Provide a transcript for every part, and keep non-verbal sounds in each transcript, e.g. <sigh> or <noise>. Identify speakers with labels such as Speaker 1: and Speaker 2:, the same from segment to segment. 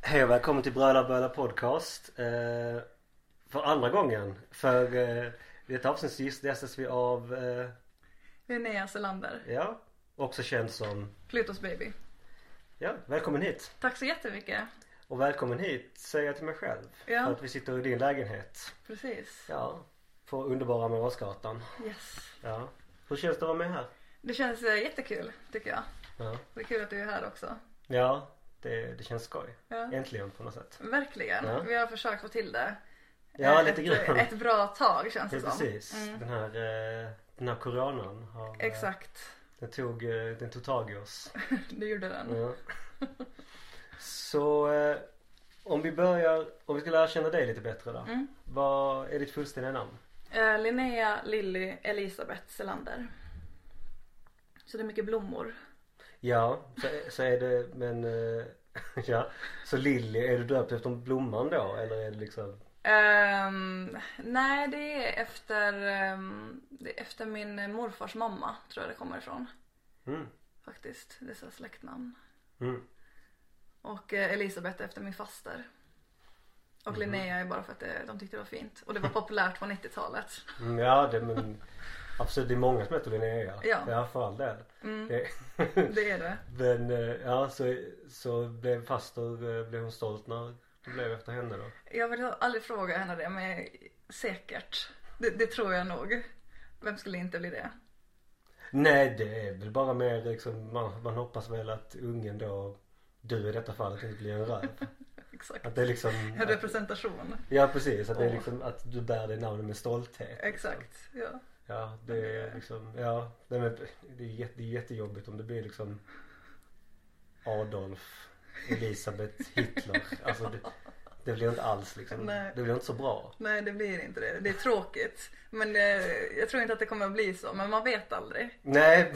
Speaker 1: Hej och välkommen till Bröla Böla Podcast. Eh, för andra gången. För eh, i detta avsnitt så gästas vi av, eh,
Speaker 2: Linnea Selander,
Speaker 1: ja, också känd som,
Speaker 2: Plutos baby.
Speaker 1: ja, välkommen hit.
Speaker 2: Tack så jättemycket.
Speaker 1: Och välkommen hit säger jag till mig själv.
Speaker 2: Ja.
Speaker 1: För att vi sitter i din lägenhet.
Speaker 2: Precis.
Speaker 1: Ja. På underbara Amiralsgatan.
Speaker 2: Yes.
Speaker 1: Ja. Hur känns det att vara med här?
Speaker 2: Det känns eh, jättekul tycker jag.
Speaker 1: Ja.
Speaker 2: Det är kul att du är här också.
Speaker 1: Ja, det, det känns skoj.
Speaker 2: Ja.
Speaker 1: Äntligen på något sätt.
Speaker 2: Verkligen.
Speaker 1: Ja.
Speaker 2: Vi har försökt få till det.
Speaker 1: Ja,
Speaker 2: eh,
Speaker 1: lite
Speaker 2: ett,
Speaker 1: grann.
Speaker 2: Ett bra tag känns
Speaker 1: Ja,
Speaker 2: det som.
Speaker 1: precis.
Speaker 2: Mm.
Speaker 1: Den, här, eh, den här coronan har, eh,
Speaker 2: Exakt.
Speaker 1: den, tog, eh, den tog tag i oss.
Speaker 2: Det gjorde den.
Speaker 1: Ja. <laughs> Så eh, om vi börjar, om vi ska lära känna dig lite bättre då.
Speaker 2: Mm.
Speaker 1: Vad är ditt fullständiga namn?
Speaker 2: Eh, Linnea Lilly Elisabeth Selander. Så det är mycket blommor.
Speaker 1: Ja, så, så är det men eh, <laughs> ja. Så Lilly, är du döpt efter blomman då eller är det liksom
Speaker 2: Ehm, nej det är efter, ehm, det är efter min morfars mamma tror jag det kommer ifrån.
Speaker 1: mm,
Speaker 2: Faktiskt. Det är så här släktnamn.
Speaker 1: mm.
Speaker 2: Och eh, Elisabeth efter min faster. Och
Speaker 1: Mhm.
Speaker 2: Linnea är bara för att det, de tyckte det var fint. Och det
Speaker 1: <laughs>
Speaker 2: var populärt på 90-talet.
Speaker 1: Mm, Ja det men absolut det är många som heter Linnea.
Speaker 2: Ja.
Speaker 1: ja för all del. Det,
Speaker 2: Mm, Det är det.
Speaker 1: men eh, ja så, så blev faster, eh, blev hon stolt när du blev efter henne då?
Speaker 2: Jag vill aldrig fråga henne det men säkert. Det, det tror jag nog. Vem skulle inte bli det?
Speaker 1: Nej det är väl bara mer liksom man, man hoppas väl att ungen då du i detta fallet inte blir en röv.
Speaker 2: Exakt.
Speaker 1: Att det är <laughs> liksom
Speaker 2: En
Speaker 1: att,
Speaker 2: representation.
Speaker 1: Ja precis att det är
Speaker 2: Åh.
Speaker 1: liksom att du bär det namnet med stolthet.
Speaker 2: Exakt. Ja.
Speaker 1: Ja det är liksom ja nej, men det är jätte, det är jättejobbigt om det blir liksom Adolf Elisabeth Hitler. Alltså det, det blir inte alls liksom
Speaker 2: Nej.
Speaker 1: det blir inte så bra.
Speaker 2: Nej det blir inte det. Det är tråkigt. Men eh, jag tror inte att det kommer att bli så. Men man vet aldrig.
Speaker 1: Nej.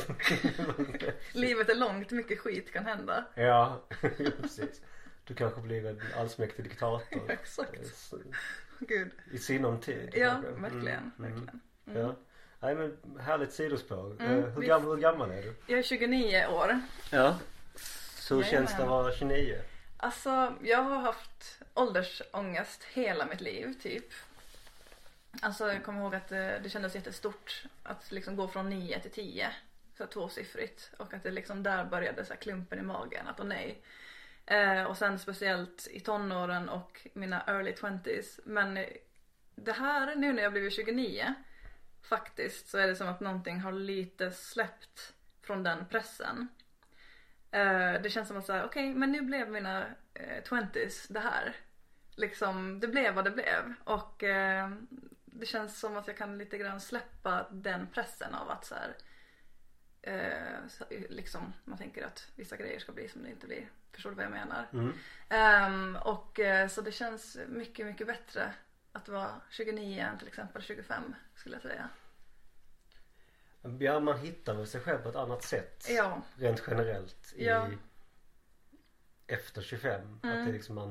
Speaker 1: <laughs>
Speaker 2: Livet är långt. Mycket skit kan hända.
Speaker 1: ja <laughs> precis. Du kanske blir en allsmäktig <laughs> diktator.
Speaker 2: Exakt. Gud.
Speaker 1: I sinom tid.
Speaker 2: Ja,
Speaker 1: kanske. Mm,
Speaker 2: verkligen.
Speaker 1: mm.
Speaker 2: verkligen.
Speaker 1: Ja. Nej men härligt sidospår.
Speaker 2: Mm,
Speaker 1: Eh, hur,
Speaker 2: visst.
Speaker 1: gammal, hur gammal är du?
Speaker 2: Jag är 29 år.
Speaker 1: Ja. Så hur
Speaker 2: Jajamän.
Speaker 1: känns det att vara 29?
Speaker 2: Alltså jag har haft åldersångest hela mitt liv typ. Alltså jag kommer ihåg att det, det kändes jättestort att liksom gå från 9 till 10. Så här tvåsiffrigt. Och att det liksom där började så här klumpen i magen att åh nej. Eh, och sen speciellt i tonåren och mina early 20s. Men eh, det här nu när jag blivit 29 faktiskt så är det som att någonting har lite släppt från den pressen. Eh, det känns som att säga, okej men nu blev mina eh, 20s det här. Liksom, det blev vad det blev. Och eh, det känns som att jag kan lite grann släppa den pressen av att så här, eh, så, liksom, man tänker att vissa grejer ska bli som det inte blir. Förstår du vad jag menar? Ehm, och eh, så det känns mycket, mycket bättre att vara 29 än till exempel 25 skulle jag säga.
Speaker 1: Ja man hittar väl sig själv på ett annat sätt.
Speaker 2: Ja,
Speaker 1: Rent generellt i
Speaker 2: Ja. Mm.
Speaker 1: efter 25. Att det är liksom man,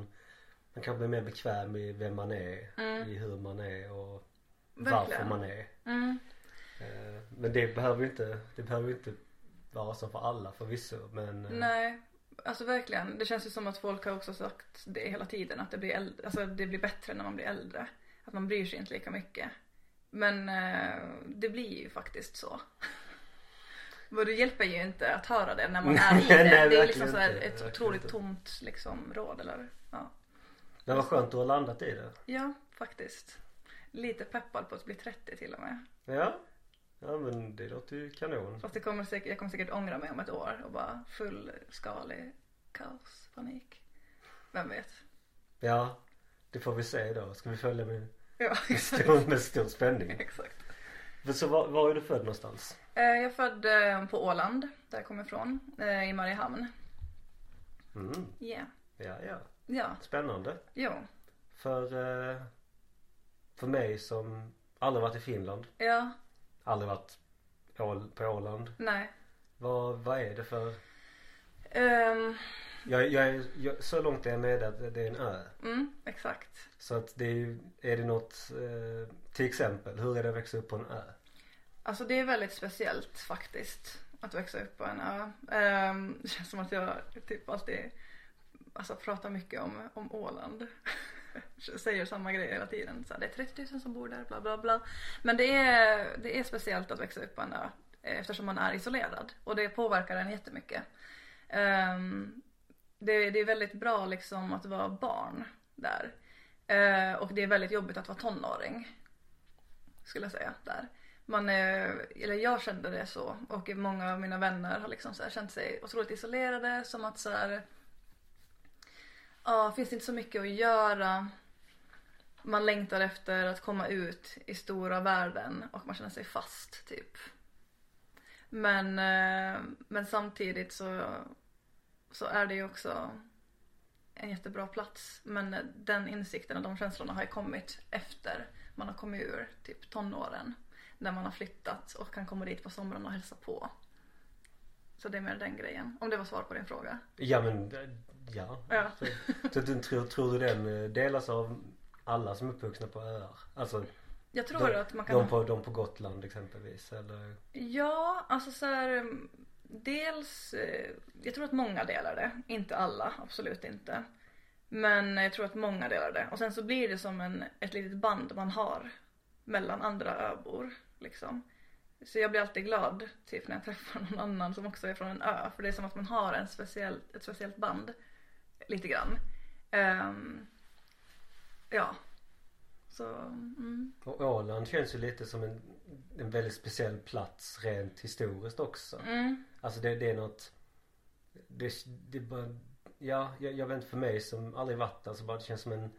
Speaker 1: man kanske blir mer bekväm i vem man är, i hur man är och varför
Speaker 2: Mm. Verkligen.
Speaker 1: man är.
Speaker 2: mm,
Speaker 1: Eh, Men det behöver ju inte, det behöver ju inte vara så för alla förvisso men eh,
Speaker 2: nej. Alltså verkligen. Det känns ju som att folk har också sagt det hela tiden att det blir, äldre, alltså, det blir bättre när man blir äldre. Att man bryr sig inte lika mycket. Men eh, det blir ju faktiskt så. <laughs> Men det hjälper ju inte att höra det när man är
Speaker 1: <laughs>
Speaker 2: i det.
Speaker 1: Nej,
Speaker 2: det är
Speaker 1: verkligen
Speaker 2: liksom så här
Speaker 1: inte,
Speaker 2: ett
Speaker 1: verkligen
Speaker 2: otroligt
Speaker 1: inte.
Speaker 2: tomt liksom, råd. Eller, ja.
Speaker 1: men vad skönt att ha landat i det.
Speaker 2: Ja, faktiskt. Lite peppad på att bli 30 till och med.
Speaker 1: Ja. Ja men det låter ju kanon.
Speaker 2: Fast det kommer säkert, jag kommer säkert ångra mig om ett år och bara fullskalig kaos, panik. Vem vet?
Speaker 1: Ja, det får vi se då. Ska vi följa med, <laughs>
Speaker 2: Ja, <laughs> exakt.
Speaker 1: stor- med stor spänning.
Speaker 2: <laughs> exakt.
Speaker 1: Men Så var, var är du född någonstans?
Speaker 2: Eh, Jag är född eh, på Åland, där jag kommer ifrån, eh, i Mariehamn.
Speaker 1: Mm,
Speaker 2: Yeah.
Speaker 1: ja, ja.
Speaker 2: Ja,
Speaker 1: Spännande.
Speaker 2: jo.
Speaker 1: För, eh, för mig som aldrig varit i Finland,
Speaker 2: Ja,
Speaker 1: aldrig varit Ål- på Åland,
Speaker 2: nej.
Speaker 1: Vad, vad är det för?
Speaker 2: Ehm,
Speaker 1: Jag, jag, jag, så långt är jag med att det är en ö.
Speaker 2: mm, exakt.
Speaker 1: Så att det är ju, är det något, eh, till exempel, hur är det att växa upp på en ö?
Speaker 2: Alltså det är väldigt speciellt faktiskt att växa upp på en ö. Ehm, det känns som att jag typ alltid alltså, pratar mycket om, om Åland. <laughs> Säger samma grejer hela tiden. Så här, det är 30 000 som bor där, bla bla bla. Men det är, det är speciellt att växa upp på en ö eh, eftersom man är isolerad och det påverkar en jättemycket. Ehm, det, det är väldigt bra liksom att vara barn där. Eh, och det är väldigt jobbigt att vara tonåring skulle jag säga där. Man, eh, eller jag kände det så och många av mina vänner har liksom så här känt sig otroligt isolerade som att så här, ja, finns det inte så mycket att göra. Man längtar efter att komma ut i stora världen och man känner sig fast typ. Men, eh, men samtidigt så, så är det ju också en jättebra plats. Men den insikten och de känslorna har ju kommit efter man har kommit ur typ tonåren. När man har flyttat och kan komma dit på somrarna och hälsa på. Så det är mer den grejen. Om det var svar på din fråga.
Speaker 1: Ja men, eh, ja.
Speaker 2: Ja.
Speaker 1: Så, så att du tror, tror du den eh, delas av alla som är uppvuxna på öar? Alltså
Speaker 2: Jag tror
Speaker 1: de,
Speaker 2: att man kan...
Speaker 1: de, på, de på Gotland exempelvis eller?
Speaker 2: Ja, alltså så här, mm, Dels, eh, jag tror att många delar det. Inte alla, absolut inte. Men jag tror att många delar det. Och sen så blir det som en, ett litet band man har mellan andra öbor. Liksom. Så jag blir alltid glad typ när jag träffar någon annan som också är från en ö. För det är som att man har en speciell, ett speciellt band. Lite grann. Ehm, ja. Så, mm.
Speaker 1: Och Åland känns ju lite som en, en väldigt speciell plats rent historiskt också.
Speaker 2: Mm.
Speaker 1: Alltså det, det är något Det, det är bara Ja, jag, jag vet inte för mig som aldrig varit där så bara det känns som en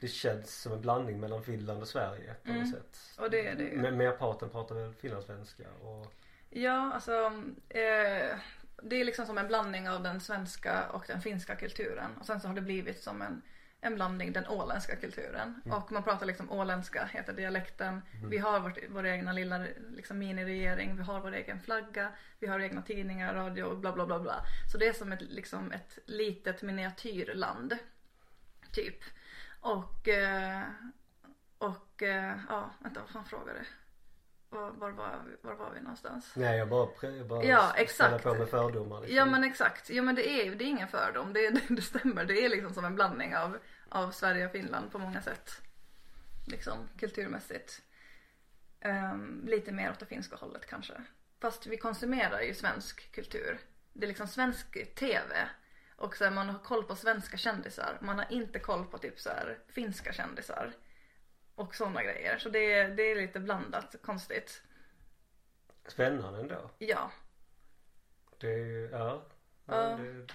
Speaker 1: Det känns som en blandning mellan Finland och Sverige på något
Speaker 2: Mm.
Speaker 1: sätt.
Speaker 2: Och det är det ju.
Speaker 1: Men merparten pratar väl finlandssvenska och
Speaker 2: Ja, alltså eh, det är liksom som en blandning av den svenska och den finska kulturen och sen så har det blivit som en, en blandning den åländska kulturen och man pratar liksom åländska, heter dialekten. Vi har vårt, vår egna lilla liksom, miniregering, vi har vår egen flagga, vi har egna tidningar, radio och bla bla bla bla. Så det är som ett, liksom, ett litet miniatyrland typ. Och, eh, och eh, ja, vänta vad fan frågar du? Var, var, var, var var vi någonstans?
Speaker 1: Nej jag bara, pre- jag bara
Speaker 2: Ja,
Speaker 1: spelar
Speaker 2: exakt.
Speaker 1: på med fördomar liksom.
Speaker 2: Ja men exakt. Jo men det är ju, det är ingen fördom. Det, <laughs> är, det stämmer. Det är liksom som en blandning av, av Sverige och Finland på många sätt. Liksom kulturmässigt. Ehm, lite mer åt det finska hållet kanske. Fast vi konsumerar ju svensk kultur. Det är liksom svensk TV. Och så här, man har koll på svenska kändisar. Man har inte koll på typ så här, finska kändisar. Och sådana grejer. Så det, är- det är lite blandat konstigt.
Speaker 1: Spännande ändå.
Speaker 2: Ja.
Speaker 1: Det är ju, ja. Ja, det,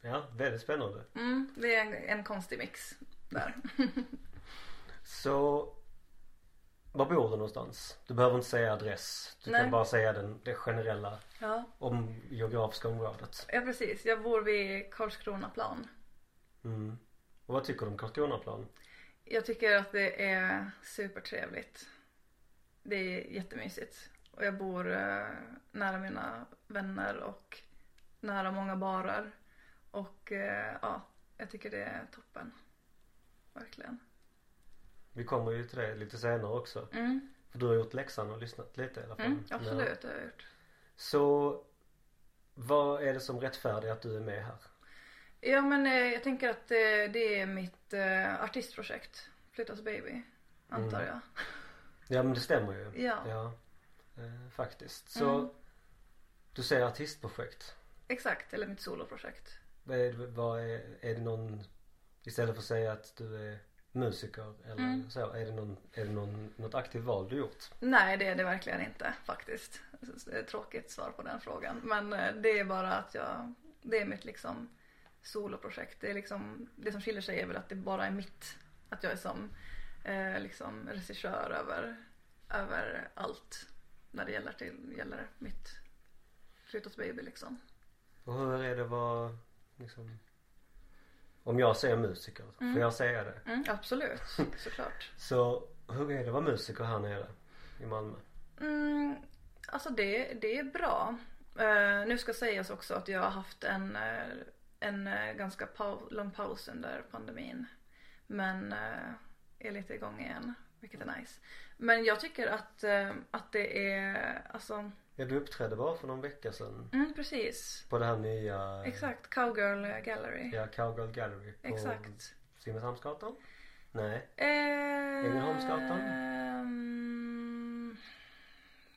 Speaker 1: ja väldigt spännande.
Speaker 2: Mm, det är en, en konstig mix där.
Speaker 1: Så var bor du någonstans? Du behöver inte säga adress. Du
Speaker 2: Nej.
Speaker 1: kan bara säga den, det generella
Speaker 2: Ja.
Speaker 1: om geografiska området.
Speaker 2: Ja precis, jag bor vid Karlskronaplan.
Speaker 1: Mm. Och vad tycker du om Karlskronaplan?
Speaker 2: Jag tycker att det är supertrevligt. Det är jättemysigt. Och jag bor eh, nära mina vänner och nära många barer. Och eh, ja, jag tycker det är toppen. Verkligen.
Speaker 1: Vi kommer ju till det lite senare också.
Speaker 2: Mm,
Speaker 1: För du har gjort läxan och lyssnat lite i alla fall.
Speaker 2: mm,
Speaker 1: Ja.
Speaker 2: absolut, det har jag gjort.
Speaker 1: Så vad är det som rättfärdigar att du är med här?
Speaker 2: Ja men eh, jag tänker att eh, det är mitt eh, artistprojekt. Flyttas baby. Antar
Speaker 1: Mm.
Speaker 2: jag.
Speaker 1: Ja men det stämmer ju.
Speaker 2: Ja.
Speaker 1: Eh, faktiskt. Så
Speaker 2: Mm.
Speaker 1: du säger artistprojekt.
Speaker 2: Exakt, eller mitt soloprojekt.
Speaker 1: Vad är, det- vad är, är det någon istället för att säga att du är musiker eller
Speaker 2: Mm.
Speaker 1: så. Är det, någon, är det någon, något aktivt val du gjort?
Speaker 2: Nej, det är det verkligen inte faktiskt. Det är ett tråkigt svar på den frågan. Men eh, det är bara att jag, det är mitt liksom soloprojekt. Det, är liksom, det som skiljer sig är väl att det bara är mitt. Att jag är som eh, liksom regissör över, över allt när det gäller, till, gäller mitt Frutos Baby liksom.
Speaker 1: Och hur är det att vara liksom Om jag säger musiker, får jag säga det?
Speaker 2: Mm, absolut, såklart.
Speaker 1: Så hur är det att vara musiker här nere i Malmö?
Speaker 2: Mm, alltså det, det är bra. Eh, nu ska sägas också att jag har haft en, eh, en eh, ganska pau- lång paus under pandemin. Men eh, är lite igång igen, vilket är nice. Men jag tycker att, eh, att det är, alltså,
Speaker 1: Ja, du uppträdde bara för någon vecka sedan.
Speaker 2: mm, precis.
Speaker 1: På det här nya...
Speaker 2: Exakt, Cowgirl Gallery.
Speaker 1: Ja, Cowgirl Gallery. På
Speaker 2: Exakt.
Speaker 1: Simrishamnsgatan? Nej. Ängelholmsgatan?
Speaker 2: Ängelholmsgatan? Eh, mm,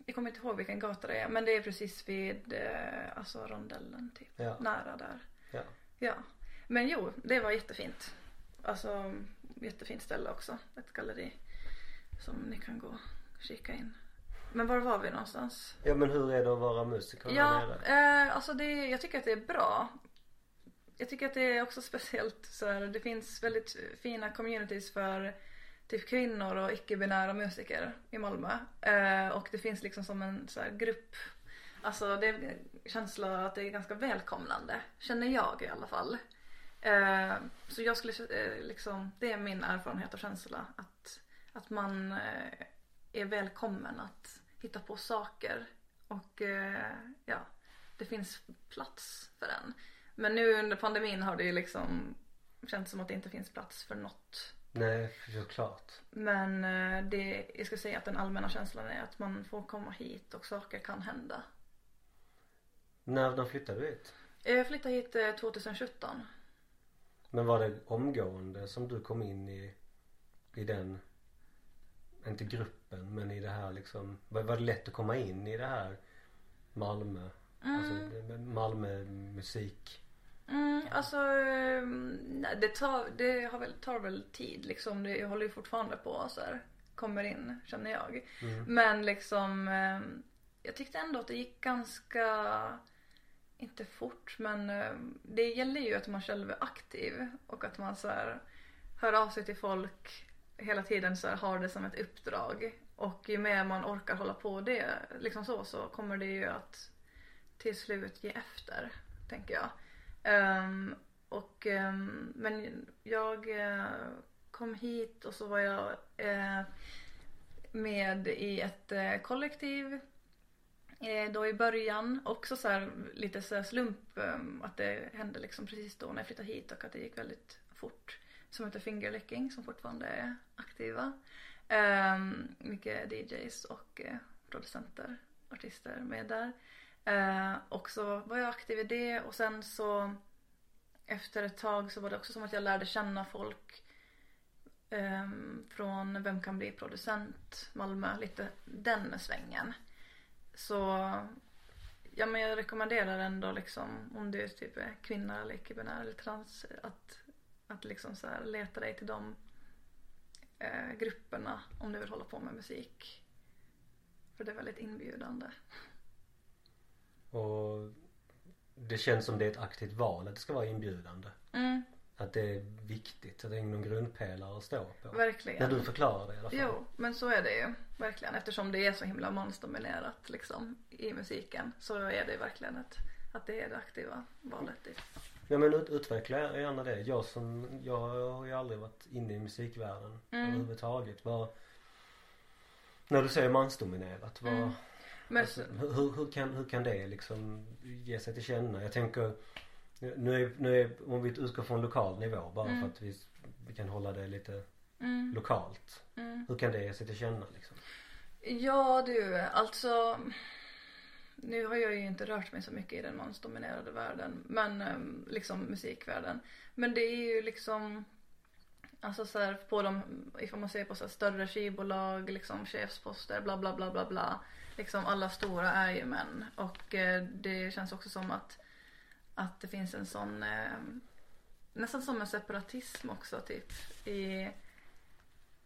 Speaker 2: Jag kommer inte ihåg vilken gata det är men det är precis vid eh, alltså rondellen typ.
Speaker 1: Ja.
Speaker 2: Nära där.
Speaker 1: Ja.
Speaker 2: Ja. Men jo, det var jättefint. Alltså jättefint ställe också. Ett galleri som ni kan gå och kika in. Men var var vi någonstans?
Speaker 1: Ja men hur är det att vara musiker här
Speaker 2: Ja,
Speaker 1: nere?
Speaker 2: eh, alltså det, jag tycker att det är bra. Jag tycker att det är också <laughs> speciellt så här, det finns väldigt fina communities för typ kvinnor och icke-binära musiker i Malmö. Eh, och det finns liksom som en så här, grupp, alltså det är en känsla att det är ganska välkomnande, känner jag i alla fall. Eh, så jag skulle, eh, liksom, det är min erfarenhet och känsla att, att man eh, är välkommen att hitta på saker och eh, ja, det finns plats för en. Men nu under pandemin har det ju liksom känts som att det inte finns plats för något.
Speaker 1: Nej, såklart.
Speaker 2: Men eh, det, jag skulle säga att den allmänna känslan är att man får komma hit och saker kan hända.
Speaker 1: När, när flyttade du hit?
Speaker 2: Jag flyttade hit eh, 2017.
Speaker 1: Men var det omgående som du kom in i, i den, inte gruppen men i det här liksom, var, var det lätt att komma in i det här Malmö? Alltså det- Malmö musik?
Speaker 2: Mm, alltså, eh, nej, det, tar, det har väl, tar väl tid liksom. Det, jag håller ju fortfarande på och så här, kommer in känner jag.
Speaker 1: Mm.
Speaker 2: Men liksom, eh, jag tyckte ändå att det gick ganska, inte fort men eh, det gäller ju att man själv är aktiv och att man så här, hör av sig till folk hela tiden så här, har det som ett uppdrag. Och ju mer man orkar hålla på det liksom så, så kommer det ju att till slut ge efter, tänker jag. Ehm, och, ehm, men jag eh, kom hit och så var jag eh, med i ett eh, kollektiv eh, då i början. Också så här, lite så här slump ehm, att det hände liksom precis då när jag flyttade hit och att det gick väldigt fort. Som heter Fingerlicking som fortfarande är aktiva. Um, mycket DJs och eh, producenter, artister med där. Eh, och så var jag aktiv i det och sen så efter ett tag så var det också som att jag lärde känna folk ehm, från Vem kan bli producent Malmö, lite den svängen. Så ja, men jag rekommenderar ändå liksom om du typ är kvinna eller icke-binär eller trans att, att liksom så här leta dig till de eh, grupperna om du vill hålla på med musik. För det är väldigt inbjudande.
Speaker 1: Och det känns som det är ett aktivt val att det ska vara inbjudande.
Speaker 2: Mm,
Speaker 1: Att det är viktigt, att det är någon grundpelare att stå på.
Speaker 2: verkligen.
Speaker 1: När du förklarar det i alla fall.
Speaker 2: Jo, men så är det ju. Verkligen. Eftersom det är så himla mansdominerat liksom, i musiken så är det verkligen ett, att det är det aktiva valet. i-
Speaker 1: Ja men ut, utveckla gärna det. Jag som, jag har ju aldrig varit inne i musikvärlden
Speaker 2: Mm.
Speaker 1: överhuvudtaget. Vad, när du säger mansdominerat, vad,
Speaker 2: Mm. Men,
Speaker 1: alltså, hur- hur, hur, kan, hur kan det liksom ge sig till känna? Jag tänker, nu är, nu är, om vi utgår från lokal nivå bara för
Speaker 2: Mm.
Speaker 1: att vi, vi kan hålla det lite
Speaker 2: mm,
Speaker 1: lokalt.
Speaker 2: mm.
Speaker 1: Hur kan det ge sig till känna liksom?
Speaker 2: Ja du, alltså. Nu har jag ju inte rört mig så mycket i den mansdominerade världen. Men eh, liksom musikvärlden. Men det är ju liksom. Alltså så här, på de, ifall man ser på så här, större skivbolag, liksom chefsposter, bla bla bla bla bla. Liksom alla stora är ju män. Och eh, det känns också som att, att det finns en sån, eh, nästan som en separatism också typ. I,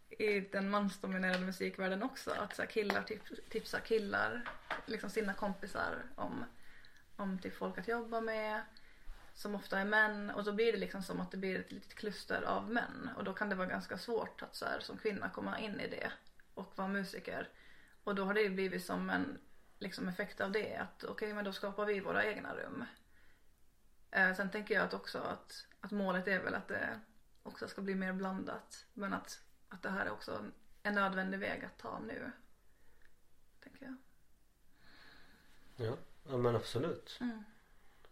Speaker 2: i den mansdominerade musikvärlden också. Att så här killar tip- tipsar killar, liksom sina kompisar om, om typ folk att jobba med. Som ofta är män och då blir det liksom som att det blir ett litet kluster av män. Och då kan det vara ganska svårt att så här, som kvinna komma in i det och vara musiker. Och då har det ju blivit som en liksom, effekt av det att okej men då skapar vi våra egna rum. Eh, sen tänker jag att också att, att målet är väl att det också ska bli mer blandat. Men att, att det här är också en nödvändig väg att ta nu. Tänker jag.
Speaker 1: Ja, ja men absolut.
Speaker 2: Mm.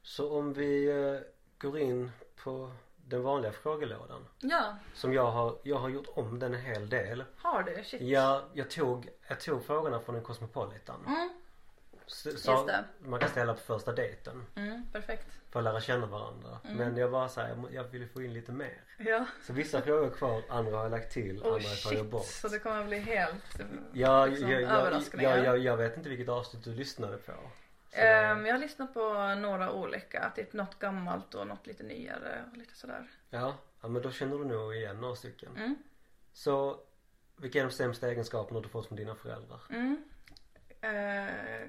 Speaker 1: Så om vi eh, går in på den vanliga frågelådan.
Speaker 2: Ja,
Speaker 1: Som jag har, jag har gjort om den en hel del.
Speaker 2: har du? Shit.
Speaker 1: Jag, jag, tog, jag tog frågorna från en Cosmopolitan.
Speaker 2: Mm,
Speaker 1: Så,
Speaker 2: just
Speaker 1: så
Speaker 2: det.
Speaker 1: man kan ställa på första dejten.
Speaker 2: mm, perfekt.
Speaker 1: För att lära känna varandra.
Speaker 2: Mm.
Speaker 1: Men jag var såhär, jag, må- jag ville få in lite mer.
Speaker 2: Ja.
Speaker 1: Så vissa frågor är kvar, andra har jag lagt till,
Speaker 2: Oh
Speaker 1: andra tar jag
Speaker 2: shit,
Speaker 1: bort.
Speaker 2: så det kommer bli helt eh,
Speaker 1: Ja,
Speaker 2: liksom,
Speaker 1: jag, jag,
Speaker 2: överraskningar.
Speaker 1: jag, jag, jag vet inte vilket avsnitt du lyssnade på. Så det-
Speaker 2: Ehm, jag har lyssnat på några olika, typ något gammalt och något lite nyare och lite sådär.
Speaker 1: ja, ja, men då känner du nog igen några stycken.
Speaker 2: Mm.
Speaker 1: Så, vilka är de sämsta egenskaperna du fått från dina föräldrar?
Speaker 2: Mm. Eh,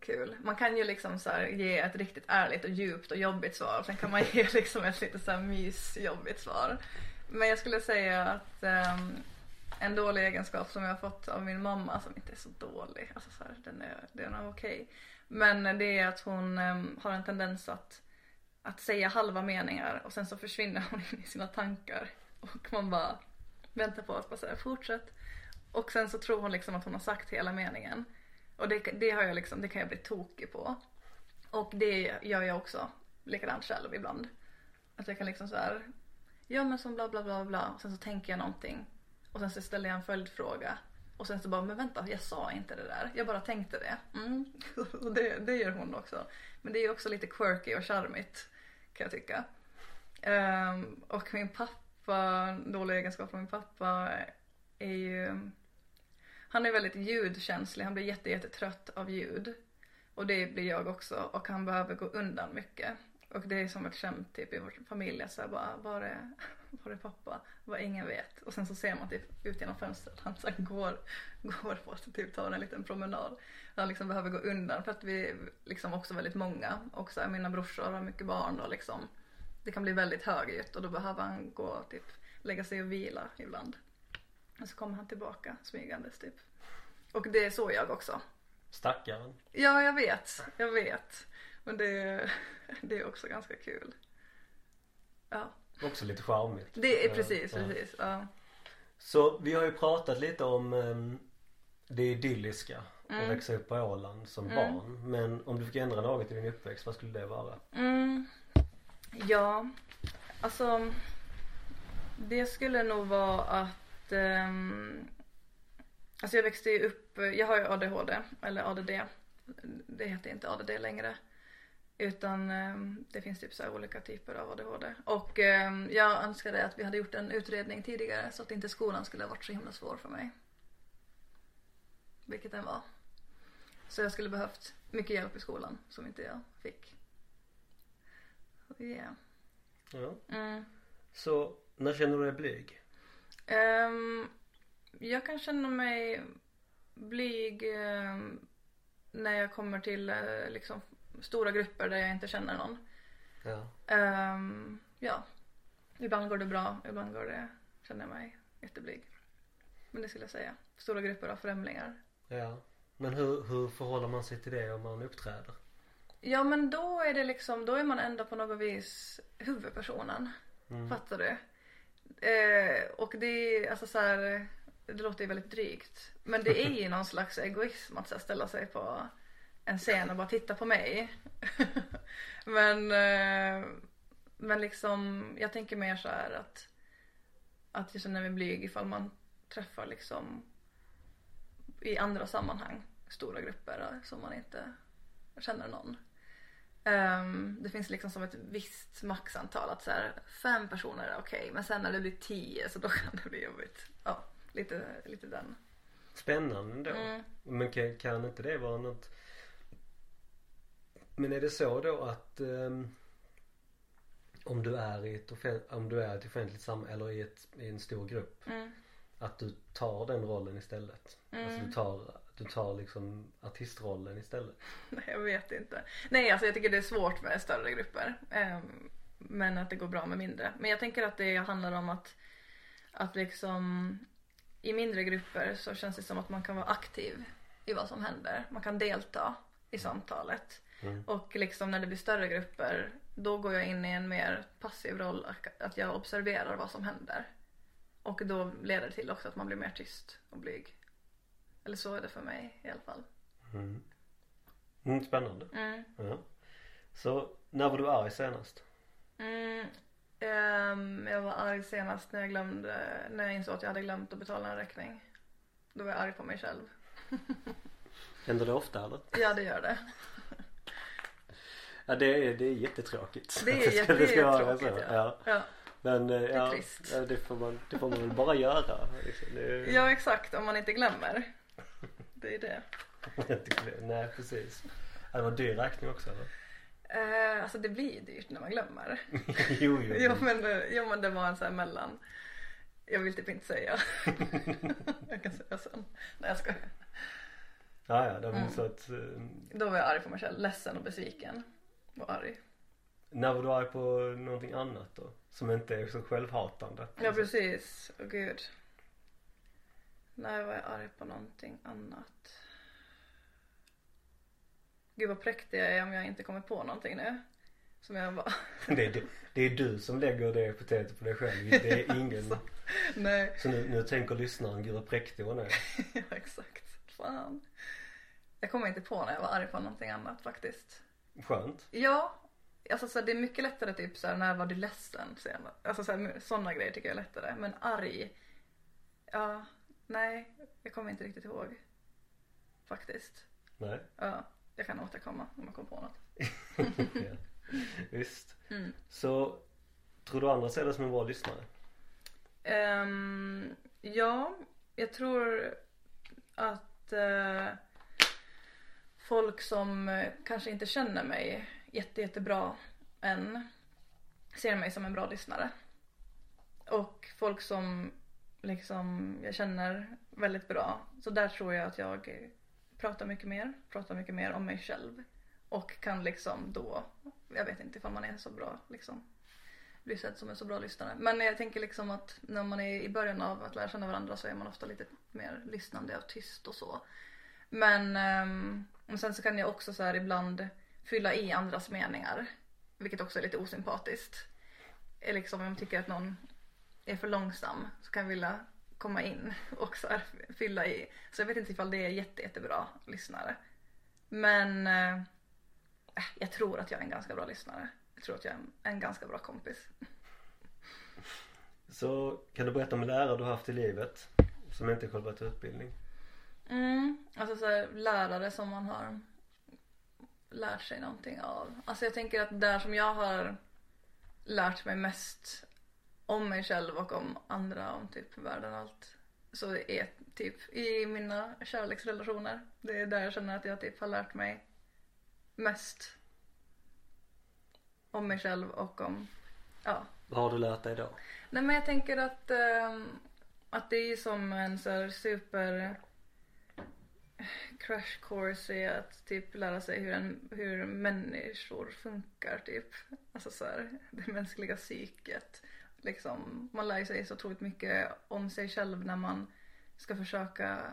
Speaker 2: kul. Man kan ju liksom så här ge ett riktigt ärligt och djupt och jobbigt svar. Sen kan man <laughs> ge liksom ett lite så här mysjobbigt svar. Men jag skulle säga att ehm, en dålig egenskap som jag har fått av min mamma som inte är så dålig, alltså så här, den är, den är okej. Men det är att hon ehm, har en tendens att, att säga halva meningar och sen så försvinner <laughs> hon in i sina tankar. Och man bara väntar på att bara så här, fortsätt. Och sen så tror hon liksom att hon har sagt hela meningen. Och det, det, har jag liksom, det kan jag bli tokig på. Och det gör jag också likadant själv ibland. Att jag kan liksom så här, ja men som bla bla bla bla. Och sen så tänker jag någonting. Och sen så ställer jag en följdfråga. Och sen så bara, men vänta jag sa inte det där. Jag bara tänkte det. Mm. <laughs> Och det, det gör hon också. Men det är ju också lite quirky och charmigt. Kan jag tycka. Ehm, och min pappa, dålig egenskap från min pappa är ju... Han är väldigt ljudkänslig, han blir jätte, jättetrött av ljud. Och det blir jag också och han behöver gå undan mycket. Och det är som ett skämt typ i vår familj, att så här bara, var är, var är pappa? Vad ingen vet. Och sen så ser man typ ut genom fönstret, han så här går, går på att typ ta en liten promenad. Han liksom behöver gå undan för att vi är liksom också väldigt många och så här, mina brorsor har mycket barn och liksom det kan bli väldigt högljutt och då behöver han gå och typ lägga sig och vila ibland. Och så kommer han tillbaka smygandes typ. Och det är så jag också.
Speaker 1: Stackaren.
Speaker 2: Ja, jag vet. Jag vet. Men det, det är <laughs> också ganska kul. Ja,
Speaker 1: Också lite charmigt.
Speaker 2: det är
Speaker 1: Ja,
Speaker 2: precis,
Speaker 1: ja.
Speaker 2: precis. Ja.
Speaker 1: Så vi har ju pratat lite om ehm, det idylliska
Speaker 2: Mm.
Speaker 1: att växa upp på Åland som
Speaker 2: Mm.
Speaker 1: barn. Men om du fick ändra något i din uppväxt, vad skulle det vara?
Speaker 2: Mm. Ja, alltså. Det skulle nog vara att. ehm, alltså jag växte ju upp. Jag har ju ADHD, eller ADD. Det heter inte ADD längre. Utan ehm, det finns typ så här olika typer av ADHD. Och ehm, jag önskade att vi hade gjort en utredning tidigare så att inte skolan skulle ha varit så himla svår för mig. Vilket den var. Så jag skulle behövt mycket hjälp i skolan som inte jag fick. Yeah.
Speaker 1: Ja.
Speaker 2: Mm.
Speaker 1: Så, när känner du dig blyg?
Speaker 2: Ehm, jag kan känna mig blyg ehm, när jag kommer till eh, liksom, stora grupper där jag inte känner någon.
Speaker 1: Ja.
Speaker 2: Ehm, ja. Ibland går det bra, ibland går det, känner jag mig jätteblyg. Men det skulle jag säga. Stora grupper av främlingar.
Speaker 1: ja. Men hur, hur förhåller man sig till det om man uppträder?
Speaker 2: Ja men då är det liksom, då är man ändå på något vis huvudpersonen.
Speaker 1: Mm.
Speaker 2: Fattar du? Eh, och det är alltså så här, det låter ju väldigt drygt. Men det är ju någon slags egoism att så här, ställa sig på en scen och bara titta på mig. <laughs> men, eh, men liksom, jag tänker mer så här att, att jag känner mig blyg ifall man träffar liksom i andra sammanhang stora grupper som man inte känner någon. Ehm, det finns liksom som ett visst maxantal att så här, fem personer är okej men sen när det blir tio så då kan det bli jobbigt. Ja, lite, lite den.
Speaker 1: Spännande ändå.
Speaker 2: Mm.
Speaker 1: Men kan, kan inte det vara något Men är det så då att ehm, om du är i ett, offen... om du är i ett offentligt samhälle eller i, ett, i en stor grupp
Speaker 2: Mm.
Speaker 1: att du tar den rollen istället? Alltså du tar, du tar liksom artistrollen istället?
Speaker 2: <laughs> Nej, jag vet inte. Nej, alltså jag tycker det är svårt med större grupper. ehm, men att det går bra med mindre. Men jag tänker att det handlar om att, att liksom i mindre grupper så känns det som att man kan vara aktiv i vad som händer. Man kan delta i samtalet.
Speaker 1: Mm.
Speaker 2: Och liksom när det blir större grupper då går jag in i en mer passiv roll. Att jag observerar vad som händer. Och då leder det till också att man blir mer tyst och blyg. Eller så är det för mig i alla fall.
Speaker 1: Mm. Mm, spännande.
Speaker 2: Mm.
Speaker 1: Ja. Så när var du arg senast?
Speaker 2: Mm. Ehm, jag var arg senast när jag glömde, när jag insåg att jag hade glömt att betala en räkning. Då var jag arg på mig själv.
Speaker 1: Händer det ofta eller?
Speaker 2: Ja det gör det.
Speaker 1: Ja det är, det är jättetråkigt.
Speaker 2: Det är,
Speaker 1: Att ska- <laughs>
Speaker 2: jätte- det är
Speaker 1: ska vara
Speaker 2: tråkigt
Speaker 1: så.
Speaker 2: ja.
Speaker 1: Ja.
Speaker 2: Ja.
Speaker 1: Men eh, ja,
Speaker 2: trist.
Speaker 1: ja, det, får man, det får man väl bara göra. Liksom. Det, <laughs>
Speaker 2: ja exakt, om man inte glömmer. Det är det.
Speaker 1: Nej precis. Ja, Det var en dyr räkning också eller?
Speaker 2: Eh, alltså det blir dyrt när man glömmer.
Speaker 1: <laughs> jo, jo.
Speaker 2: Jo men, eh, jo men det var en sån här mellan. Jag vill typ inte säga. jag kan säga sen. Nej jag skojar.
Speaker 1: Ja, ja. Det var
Speaker 2: Mm.
Speaker 1: så att, eh,
Speaker 2: Då var jag arg på mig själv, ledsen och besviken. Var arg.
Speaker 1: när var du arg på någonting annat då? Som inte är så självhatande?
Speaker 2: Ja precis, åh gud. När var jag arg på någonting annat? Gud vad präktig jag är om jag inte kommer på någonting nu. Som jag bara, <laughs>
Speaker 1: Det är, du- det är du som lägger det epitetet på dig själv.
Speaker 2: <laughs>
Speaker 1: Det är ingen.
Speaker 2: Så. nej. <laughs>
Speaker 1: Så nu, nu tänker lyssnaren, gud vad präktig hon är.
Speaker 2: ja exakt, fan. Jag kommer inte på när jag var arg på någonting annat faktiskt.
Speaker 1: Skönt.
Speaker 2: Ja, alltså så här, det är mycket lättare typ så här, när var du ledsen senast? Alltså så här, sådana grejer tycker jag är lättare. Men arg, ja, nej, jag kommer inte riktigt ihåg. Faktiskt.
Speaker 1: Nej.
Speaker 2: <laughs> Ja, jag kan återkomma om jag kommer på något.
Speaker 1: ja. Visst.
Speaker 2: Mm.
Speaker 1: Så tror du andra ser det som en bra lyssnare?
Speaker 2: Ehm, ja, jag tror att eh, folk som eh, kanske inte känner mig jätte, jättebra än ser mig som en bra lyssnare. Och folk som liksom jag känner väldigt bra. Så där tror jag att jag pratar mycket mer, pratar mycket mer om mig själv. Och kan liksom då, jag vet inte ifall man är så bra liksom blir sedd som en så bra lyssnare. Men jag tänker liksom att när man är i början av att lära känna varandra så är man ofta lite mer lyssnande och tyst och så. Men ehm, och sen så kan jag också så här ibland fylla i andras meningar. Vilket också är lite osympatiskt. Är liksom om jag tycker att någon är för långsam så kan jag vilja komma in och så här fylla i. Så jag vet inte ifall det är jätte, jättebra lyssnare. Men eh, jag tror att jag är en ganska bra lyssnare. Jag tror att jag är en- en ganska bra kompis.
Speaker 1: Så kan du berätta om en lärare du har haft i livet som inte är själva till utbildning?
Speaker 2: Mm, alltså så här, lärare som man har lärt sig någonting av. Alltså jag tänker att där som jag har lärt mig mest om mig själv och om andra, om typ världen och allt. Så är typ i mina kärleksrelationer. Det är där jag känner att jag typ har lärt mig mest. Om mig själv och om, ja,
Speaker 1: Vad har du lärt dig då?
Speaker 2: Nej men jag tänker att, ehm, att det är som en så här super crash course i att typ lära sig hur, en, hur människor funkar typ. Alltså så här, det mänskliga psyket. Liksom, man lär sig så otroligt mycket om sig själv när man ska försöka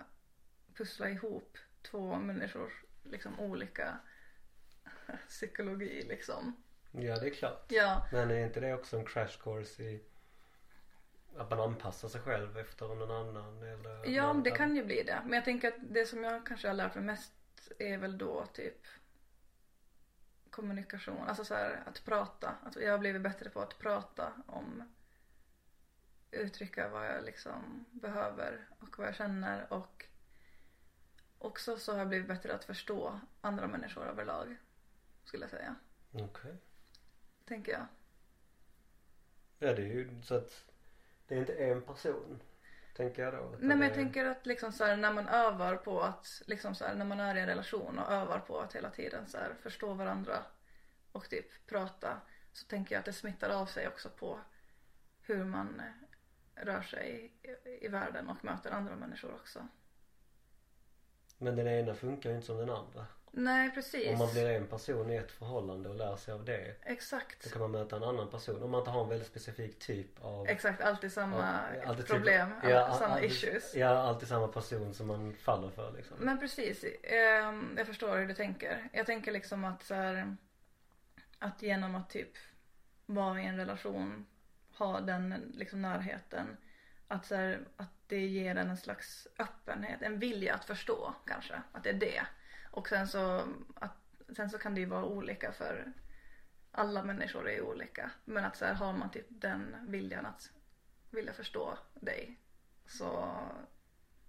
Speaker 2: pussla ihop två människors liksom, olika psykologi liksom.
Speaker 1: Ja, det är klart.
Speaker 2: Ja,
Speaker 1: Men är inte det också en crash course i att man anpassar sig själv efter någon annan? Eller
Speaker 2: Ja,
Speaker 1: någon
Speaker 2: det kan ju bli det. Men jag tänker att det som jag kanske har lärt mig mest är väl då typ kommunikation, alltså så här, att prata. Att jag har blivit bättre på att prata om uttrycka vad jag liksom behöver och vad jag känner och också så har jag blivit bättre att förstå andra människor överlag skulle jag säga,
Speaker 1: Okej.
Speaker 2: tänker jag.
Speaker 1: Ja, det är ju så att det är inte en person, tänker jag då. utan
Speaker 2: Nej men
Speaker 1: det
Speaker 2: jag
Speaker 1: är-
Speaker 2: tänker att liksom så här, när man övar på att, liksom så här, när man är i en relation och övar på att hela tiden så här, förstå varandra och typ prata så tänker jag att det smittar av sig också på hur man eh, rör sig i, i världen och möter andra människor också.
Speaker 1: Men den ena funkar ju inte som den andra.
Speaker 2: Nej precis.
Speaker 1: Om man blir en person i ett förhållande och lär sig av det Då
Speaker 2: Exakt.
Speaker 1: kan man möta en annan person om man inte har en väldigt specifik typ av
Speaker 2: Exakt, alltid samma
Speaker 1: av- alltid typ-
Speaker 2: ah, problem, all- samma
Speaker 1: alltid-
Speaker 2: issues.
Speaker 1: Ja, alltid samma person som man faller för liksom.
Speaker 2: Men precis, ehm, jag förstår hur du tänker. Jag tänker liksom att så här, att genom att typ vara i en relation, ha den liksom närheten, att, så här, att det ger en en slags öppenhet, en vilja att förstå kanske, att det är det. Och sen så, att, sen så kan det ju vara olika för alla människor är olika. Men att så här, har man typ den viljan att vilja förstå dig så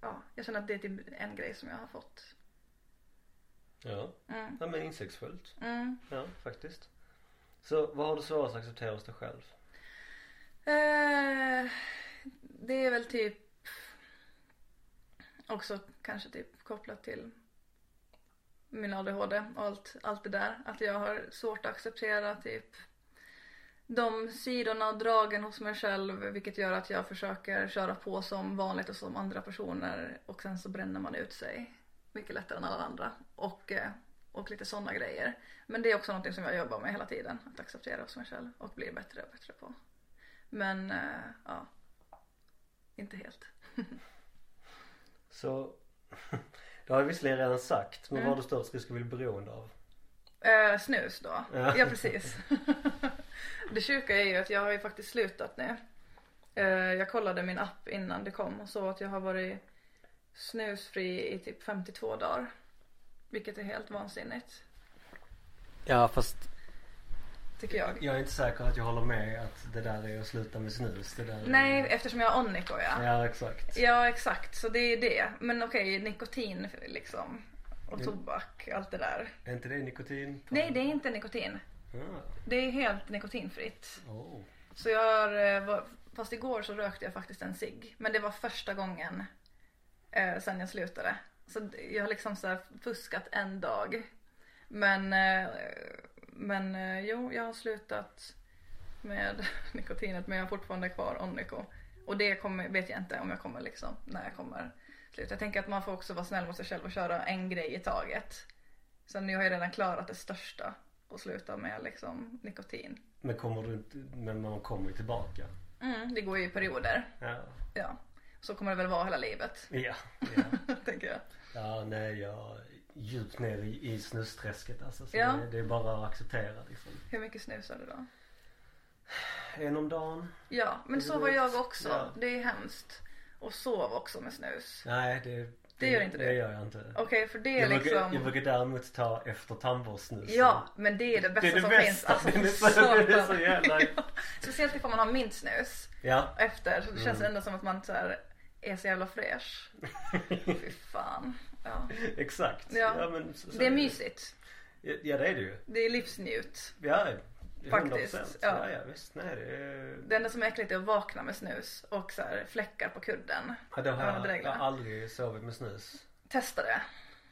Speaker 2: ja, jag känner att det är typ en grej som jag har fått.
Speaker 1: Ja.
Speaker 2: Mm.
Speaker 1: ja men insiktsfullt.
Speaker 2: Mm.
Speaker 1: Ja faktiskt. Så vad har du svårast att acceptera hos dig själv?
Speaker 2: Eh, det är väl typ också kanske typ kopplat till min ADHD och allt, allt det där. Att jag har svårt att acceptera typ de sidorna och dragen hos mig själv vilket gör att jag försöker köra på som vanligt och som andra personer och sen så bränner man ut sig mycket lättare än alla andra och, eh, och lite sådana grejer. Men det är också någonting som jag jobbar med hela tiden att acceptera hos mig själv och blir bättre och bättre på. Men eh, ja, inte helt.
Speaker 1: Så <laughs> det har jag visserligen redan sagt
Speaker 2: Mm.
Speaker 1: men vad har du störst risk att bli beroende av?
Speaker 2: Eh, snus då.
Speaker 1: Ja.
Speaker 2: Ja, precis. <laughs> det sjuka är ju att jag har ju faktiskt slutat nu. Eh, jag kollade min app innan det kom och såg att jag har varit snusfri i typ 52 dagar. Vilket är helt vansinnigt.
Speaker 1: Ja fast
Speaker 2: Tycker jag.
Speaker 1: Jag är inte säker att jag håller med att det där är att sluta med snus. Det där
Speaker 2: Nej,
Speaker 1: Är...
Speaker 2: eftersom jag har Onico ja.
Speaker 1: Ja exakt.
Speaker 2: Ja exakt, så det är ju det. Men okej, nikotin liksom. Och
Speaker 1: Mm.
Speaker 2: tobak, allt det där.
Speaker 1: Är inte det nikotin?
Speaker 2: Nej, det är inte nikotin.
Speaker 1: Ah,
Speaker 2: Det är helt nikotinfritt.
Speaker 1: oh.
Speaker 2: Så jag har, eh, var- fast igår så rökte jag faktiskt en cigg. Men det var första gången eh, sen jag slutade. Så d- jag har liksom så här fuskat en dag. Men, eh, men eh, jo, jag har slutat med <laughs> nikotinet men jag har fortfarande kvar Onico. Och det kommer, vet jag inte om jag kommer liksom, när jag kommer sluta. Jag tänker att man får också vara snäll mot sig själv och köra en grej i taget. Så nu har jag redan klarat det största och sluta med liksom nikotin.
Speaker 1: Men kommer du inte, men man kommer ju tillbaka.
Speaker 2: Mm, det går ju i perioder.
Speaker 1: Ja.
Speaker 2: Ja. Så kommer det väl vara hela livet, <laughs>
Speaker 1: Ja. Ja,
Speaker 2: tänker jag.
Speaker 1: ja nej jag är djupt ner i, i snusträsket alltså. Så
Speaker 2: Ja.
Speaker 1: det, det är bara att acceptera liksom.
Speaker 2: Hur mycket snusar du då?
Speaker 1: En om dagen?
Speaker 2: Ja, men
Speaker 1: Det
Speaker 2: så
Speaker 1: går
Speaker 2: var
Speaker 1: ut.
Speaker 2: jag också.
Speaker 1: Ja.
Speaker 2: Det är hemskt. Och sov också med snus.
Speaker 1: Nej det, det,
Speaker 2: gör inte du.
Speaker 1: Det gör jag inte.
Speaker 2: Okej, för det
Speaker 1: Jag
Speaker 2: är
Speaker 1: brukar, jag
Speaker 2: liksom...
Speaker 1: brukar däremot ta efter tandvårdssnusen.
Speaker 2: Ja, men det är det bästa
Speaker 1: Det är det
Speaker 2: som
Speaker 1: bästa.
Speaker 2: finns. Alltså,
Speaker 1: Det är så-
Speaker 2: satan.
Speaker 1: det är så jävla-
Speaker 2: <laughs> Ja. Speciellt ifall man har mint snus
Speaker 1: Ja. <laughs>
Speaker 2: efter. Så det
Speaker 1: Mm.
Speaker 2: känns ändå som att man så här är så
Speaker 1: <laughs>
Speaker 2: jävla fräsch. Fy fan. Ja.
Speaker 1: Exakt.
Speaker 2: Ja.
Speaker 1: men, så, så
Speaker 2: Det är mysigt.
Speaker 1: Ja det är det ju.
Speaker 2: Det är livsnjut.
Speaker 1: Ja, 100%.
Speaker 2: Faktiskt, ja.
Speaker 1: ja, ja visst. Nej, det är...
Speaker 2: Det enda som är äckligt är att vakna med snus och så här fläckar på kudden.
Speaker 1: Ja, det har
Speaker 2: Ja,
Speaker 1: jag, jag
Speaker 2: drägliga.
Speaker 1: har aldrig sovit med snus.
Speaker 2: Testa det.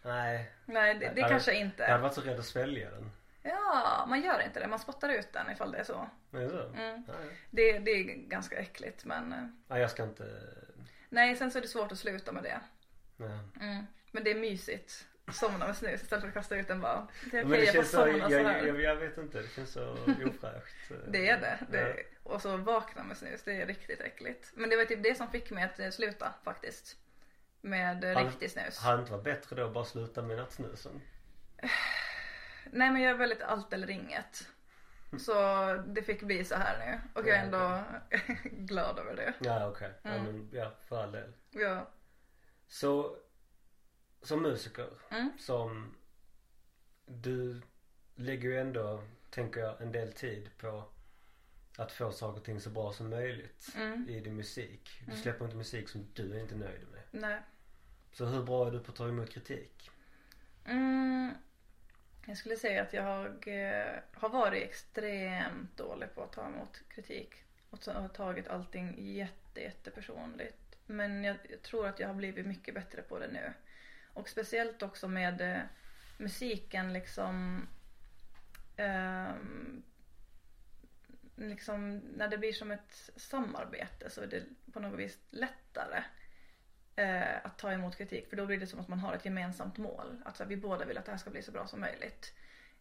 Speaker 1: Nej.
Speaker 2: Nej, det, det
Speaker 1: Jag-
Speaker 2: kanske
Speaker 1: Jag hade
Speaker 2: inte.
Speaker 1: varit så rädd att svälja den.
Speaker 2: Ja, man gör inte det. Man spottar ut den ifall det är så.
Speaker 1: Är det så?
Speaker 2: Mm.
Speaker 1: Ja, ja.
Speaker 2: Det, det är ganska äckligt men eh,
Speaker 1: Nej, jag ska inte...
Speaker 2: nej, sen så är det svårt att sluta med det.
Speaker 1: Nej.
Speaker 2: Mm. Men det är mysigt. Somna med snus istället för att kasta ut den bara. Det är
Speaker 1: Men
Speaker 2: okej, jag får
Speaker 1: så,
Speaker 2: somna
Speaker 1: jag,
Speaker 2: så
Speaker 1: jag,
Speaker 2: här.
Speaker 1: jag, jag vet inte, det känns
Speaker 2: <laughs>
Speaker 1: så ofräscht.
Speaker 2: Det är det. det och så vakna med snus, det är riktigt äckligt. Men det var typ det som fick mig att eh, sluta faktiskt. Med eh,
Speaker 1: Han-
Speaker 2: riktig snus.
Speaker 1: Hade det inte varit bättre då att bara sluta med nattsnusen?
Speaker 2: Nej men jag är väldigt allt eller inget. Så det fick bli så här nu. Och jag är ändå <laughs> glad över det.
Speaker 1: Ja, okej. Ja,
Speaker 2: Mm.
Speaker 1: men ja, för all del.
Speaker 2: Ja.
Speaker 1: Så, som musiker,
Speaker 2: Mm.
Speaker 1: som du lägger ju ändå, tänker jag, en del tid på att få saker och ting så bra som möjligt
Speaker 2: Mm.
Speaker 1: i din musik. Du
Speaker 2: Mm.
Speaker 1: släpper inte musik som du inte är nöjd med.
Speaker 2: Nej.
Speaker 1: Så hur bra är du på att ta emot kritik?
Speaker 2: Mm. Jag skulle säga att jag eh, har varit extremt dålig på att ta emot kritik. Och så har jag tagit allting jätte, jättepersonligt. Men jag, jag tror att jag har blivit mycket bättre på det nu. Och speciellt också med eh, musiken liksom. ehm, liksom när det blir som ett samarbete så är det på något vis lättare eh, att ta emot kritik för då blir det som att man har ett gemensamt mål. Att så här, vi båda vill att det här ska bli så bra som möjligt.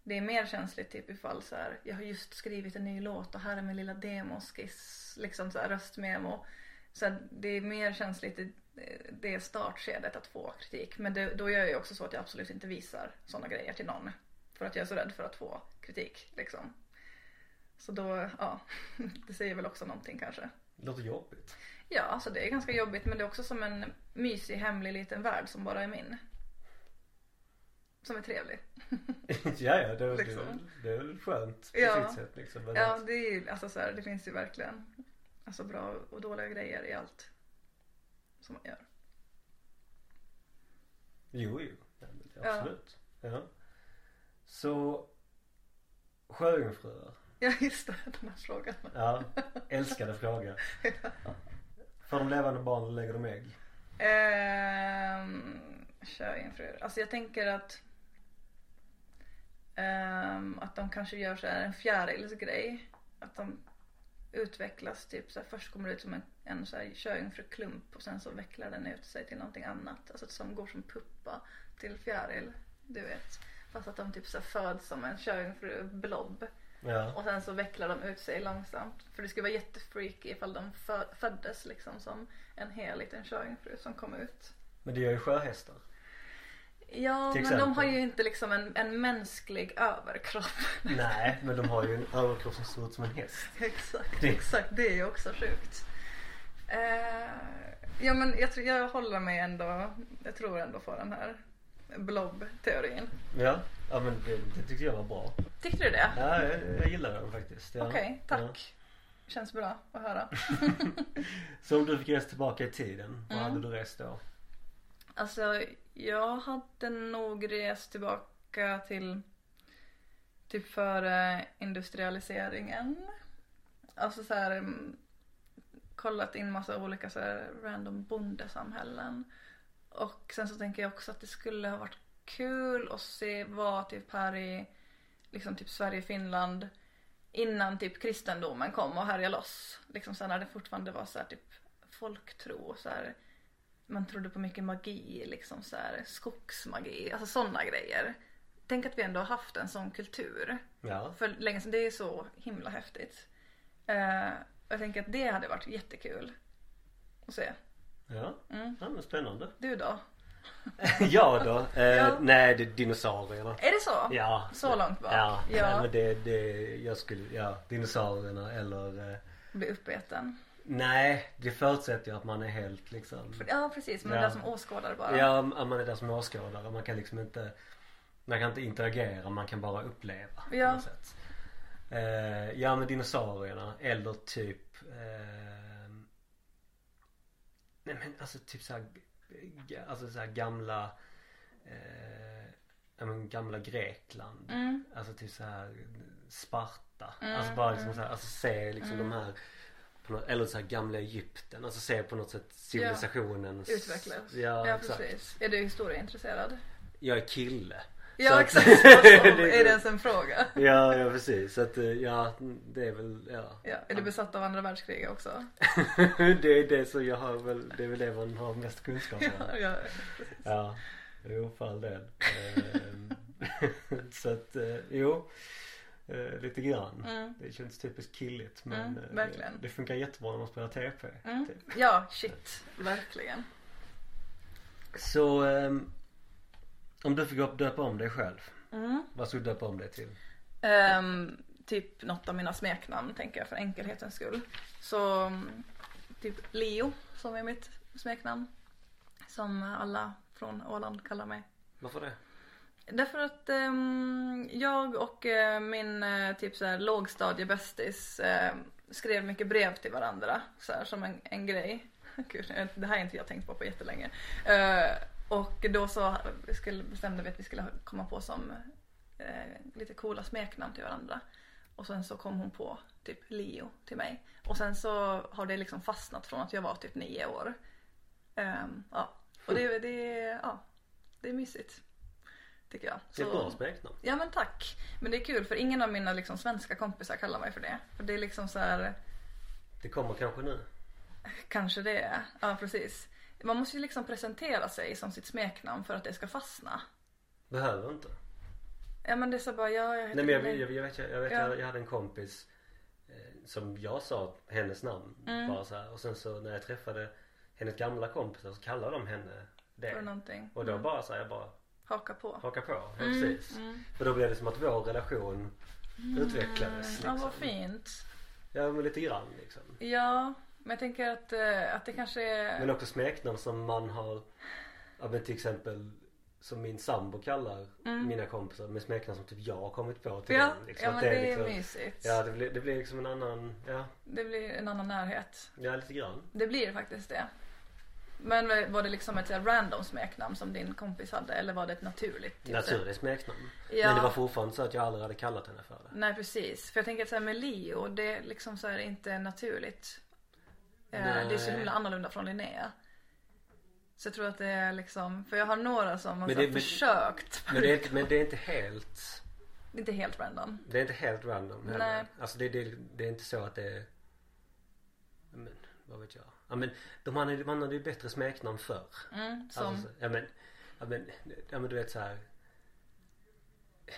Speaker 2: Det är mer känsligt typ ifall så här, jag har just skrivit en ny låt och här är min lilla demoskiss, liksom så här, röstmemo. Så här, det är mer känsligt i eh, det startskedet att få kritik. Men det, då gör jag ju också så att jag absolut inte visar sådana grejer till någon. För att jag är så rädd för att få kritik liksom. Så då, ja, <laughs> det säger väl också någonting kanske.
Speaker 1: Det låter jobbigt. <laughs>
Speaker 2: Ja, alltså det är ganska jobbigt men det är också som en mysig hemlig liten värld som bara är min. som är trevlig.
Speaker 1: ja, ja, det, det,
Speaker 2: Liksom.
Speaker 1: det är väl skönt på
Speaker 2: Ja.
Speaker 1: sitt sätt liksom. Men
Speaker 2: Ja,
Speaker 1: att,
Speaker 2: det är ju, alltså så här, det finns ju verkligen alltså bra och dåliga grejer i allt som man gör.
Speaker 1: jo, jo. Ja, men det-
Speaker 2: Ja.
Speaker 1: Absolut. Ja. Så Sjöjungfruar.
Speaker 2: Ja, just det, den här frågan.
Speaker 1: Ja, älskade fråga. Får de levande barn eller lägger de ägg?
Speaker 2: Ehm, Sjöjungfrur. Alltså jag tänker att ehm, att de kanske gör så här en fjärilsgrej. Att de utvecklas typ så här, först kommer det ut som en, en så här sjöjungfruklump och sen så vecklar den ut sig till någonting annat. Alltså som går som puppa till fjäril. Du vet. Fast att de typ så här, föds som en sjöjungfrublob.
Speaker 1: Ja,
Speaker 2: Och sen så vecklar de ut sig långsamt. För det skulle vara jättefreaky ifall de fö- föddes liksom som en hel liten sjöjungfru som kom ut.
Speaker 1: men det gör ju sjöhästar.
Speaker 2: Ja,
Speaker 1: Till
Speaker 2: men de
Speaker 1: exempel.
Speaker 2: har ju inte liksom en, en mänsklig överkropp.
Speaker 1: Nej, men de har ju en överkropp som ser ut som en häst.
Speaker 2: <laughs> exakt,
Speaker 1: Det-
Speaker 2: exakt. Det är ju också sjukt. Eh, ja, men jag, tror, jag håller mig ändå, jag tror ändå på den här blob-teorin.
Speaker 1: Ja, ja men det, det tyckte jag var bra.
Speaker 2: Tyckte du det?
Speaker 1: Ja, jag, jag gillar den faktiskt. Ja.
Speaker 2: Okej,
Speaker 1: Ja.
Speaker 2: tack. Känns bra att höra.
Speaker 1: Så om du fick resa tillbaka i tiden, vad
Speaker 2: Mm.
Speaker 1: hade du rest då?
Speaker 2: Alltså jag hade nog rest tillbaka till typ före industrialiseringen. Alltså så här mm, kollat in massa olika så här random bondesamhällen. Och sen så tänker jag också att det skulle ha varit kul att se vad typ här i liksom typ Sverige, Finland innan typ kristendomen kom och härjade loss. Liksom så här när det fortfarande var så här typ folktro och så här man trodde på mycket magi, liksom så här, skogsmagi, alltså sådana grejer. Tänk att vi ändå har haft en sån kultur
Speaker 1: Ja,
Speaker 2: för länge sedan. Det är så himla häftigt. Eh, jag tänker att det hade varit jättekul att se.
Speaker 1: ja.
Speaker 2: Mm.
Speaker 1: ja men
Speaker 2: <laughs>
Speaker 1: spännande.
Speaker 2: Du då?
Speaker 1: ja då. Eh,
Speaker 2: Ja.
Speaker 1: Nej, det är dinosaurierna.
Speaker 2: Är det så?
Speaker 1: Ja.
Speaker 2: Så långt bak?
Speaker 1: Ja, Nej,
Speaker 2: ja.
Speaker 1: men det, det, jag skulle, ja, dinosaurierna eller eh,
Speaker 2: Bli uppeten.
Speaker 1: Nej, det förutsätter ju att man är helt liksom
Speaker 2: För- Ja precis, men
Speaker 1: Ja.
Speaker 2: där som åskådare bara.
Speaker 1: Ja, att man är där som åskådare. Man kan liksom inte Man kan inte interagera, man kan bara uppleva
Speaker 2: Ja.
Speaker 1: på något sätt. Eh, ja men dinosaurierna eller typ eh, Nej men alltså typ såhär Alltså såhär gamla eh, Ja men gamla Grekland
Speaker 2: Mm.
Speaker 1: Alltså typ så här Sparta.
Speaker 2: Mm,
Speaker 1: alltså bara liksom så här, alltså se liksom de här på något, eller så här gamla Egypten. Alltså se på något sätt civilisationen
Speaker 2: Utvecklas.
Speaker 1: Ja,
Speaker 2: ja
Speaker 1: exakt.
Speaker 2: precis. Är du historieintresserad?
Speaker 1: Jag är kille. Så
Speaker 2: Ja
Speaker 1: att- <laughs>
Speaker 2: exakt. Är det ens en fråga?
Speaker 1: Ja, ja precis. Så att eh, ja, det är väl, ja. <laughs>
Speaker 2: Ja. Är du besatt av andra världskriget också?
Speaker 1: det är det som jag har väl, det är väl det man har mest kunskap om.
Speaker 2: <laughs> Ja, ja.
Speaker 1: Ja, jo för all del. Ehm, <laughs> så att, eh, jo. eh, Lite grann.
Speaker 2: Mm.
Speaker 1: Det känns typiskt killigt men
Speaker 2: Mm,
Speaker 1: eh,
Speaker 2: verkligen.
Speaker 1: Det, det funkar jättebra när man spelar TP.
Speaker 2: Mm.
Speaker 1: Typ.
Speaker 2: Ja, shit. Verkligen.
Speaker 1: Så ehm, om du fick upp- döpa om dig själv,
Speaker 2: Mm.
Speaker 1: vad skulle du döpa om dig till?
Speaker 2: Ehm, typ något av mina smeknamn tänker jag för enkelhetens skull. Så mm, typ Leo som är mitt smeknamn. Som alla från Åland kallar mig.
Speaker 1: Varför det?
Speaker 2: Därför att ehm, jag och eh, min eh, typ så här, lågstadiebästis eh, skrev mycket brev till varandra så här, som en, en grej. <laughs> Gud, jag- det här har inte jag tänkt på på jättelänge. Eh, och då så skulle, bestämde vi att vi skulle ha- komma på som eh, lite coola smeknamn till varandra. Och sen så kom hon på typ Leo till mig. Och sen så har det liksom fastnat från att jag var typ nio år. Ehm, ja. Och det, det, ja, det är mysigt. Tycker jag.
Speaker 1: Det är ett
Speaker 2: Så-
Speaker 1: bra smeknamn.
Speaker 2: Ja men tack. Men det är kul för ingen av mina liksom, svenska kompisar kallar mig för det. För det är liksom så här,
Speaker 1: Det kommer kanske nu.
Speaker 2: kanske det är. Ja precis. Man måste ju liksom presentera sig som sitt smeknamn för att det ska fastna.
Speaker 1: Behöver inte.
Speaker 2: Ja men det är så bara, ja jag heter
Speaker 1: Nej men jag,
Speaker 2: Helene.
Speaker 1: jag, jag vet, jag, jag, vet
Speaker 2: Ja.
Speaker 1: jag, jag hade en kompis eh, som jag sa hennes namn
Speaker 2: Mm.
Speaker 1: bara så här. och sen så när jag träffade hennes gamla kompisar så kallade de henne
Speaker 2: För Mm.
Speaker 1: det.
Speaker 2: någonting.
Speaker 1: Och då bara så här, jag bara
Speaker 2: Haka på.
Speaker 1: haka på. Ja,
Speaker 2: Mm.
Speaker 1: precis. För då blev det som att vår relation utvecklades.
Speaker 2: Ja
Speaker 1: Liksom.
Speaker 2: vad fint.
Speaker 1: Ja men lite grann liksom.
Speaker 2: Ja men jag tänker att, eh, att det kanske är...
Speaker 1: Men också smeknamn som man har, ja men till exempel som min sambo kallar
Speaker 2: Mm.
Speaker 1: mina kompisar med smeknamn som typ jag har kommit på till
Speaker 2: Ja,
Speaker 1: den, liksom,
Speaker 2: ja
Speaker 1: att
Speaker 2: men det är
Speaker 1: liksom,
Speaker 2: mysigt.
Speaker 1: Ja det blir, det blir liksom en annan, ja,
Speaker 2: Det blir en annan närhet.
Speaker 1: ja lite grann.
Speaker 2: Det blir faktiskt det. Men var det liksom ett så här random smeknamn som din kompis hade eller var det ett naturligt? typ så?
Speaker 1: Naturligt smeknamn.
Speaker 2: Ja.
Speaker 1: Men det var fortfarande så att jag aldrig hade kallat henne för det.
Speaker 2: Nej precis. För jag tänker att så här med Leo, det är liksom så här inte naturligt. Eh,
Speaker 1: Nej.
Speaker 2: Det är så himla annorlunda från Linnea. Så jag tror att det är liksom, för jag har några som har
Speaker 1: Men
Speaker 2: så här
Speaker 1: det- men-
Speaker 2: försökt.
Speaker 1: Men det, är, inte- men det är inte helt,
Speaker 2: <laughs> Det är inte helt random.
Speaker 1: det är inte helt random heller.
Speaker 2: Nej.
Speaker 1: Alltså det, det, det är inte så att det är, men vad vet jag. Ja men de hade, man hade ju bättre smeknamn förr.
Speaker 2: Mm, som,
Speaker 1: Alltså, ja, men, ja, men, ja men du vet så här.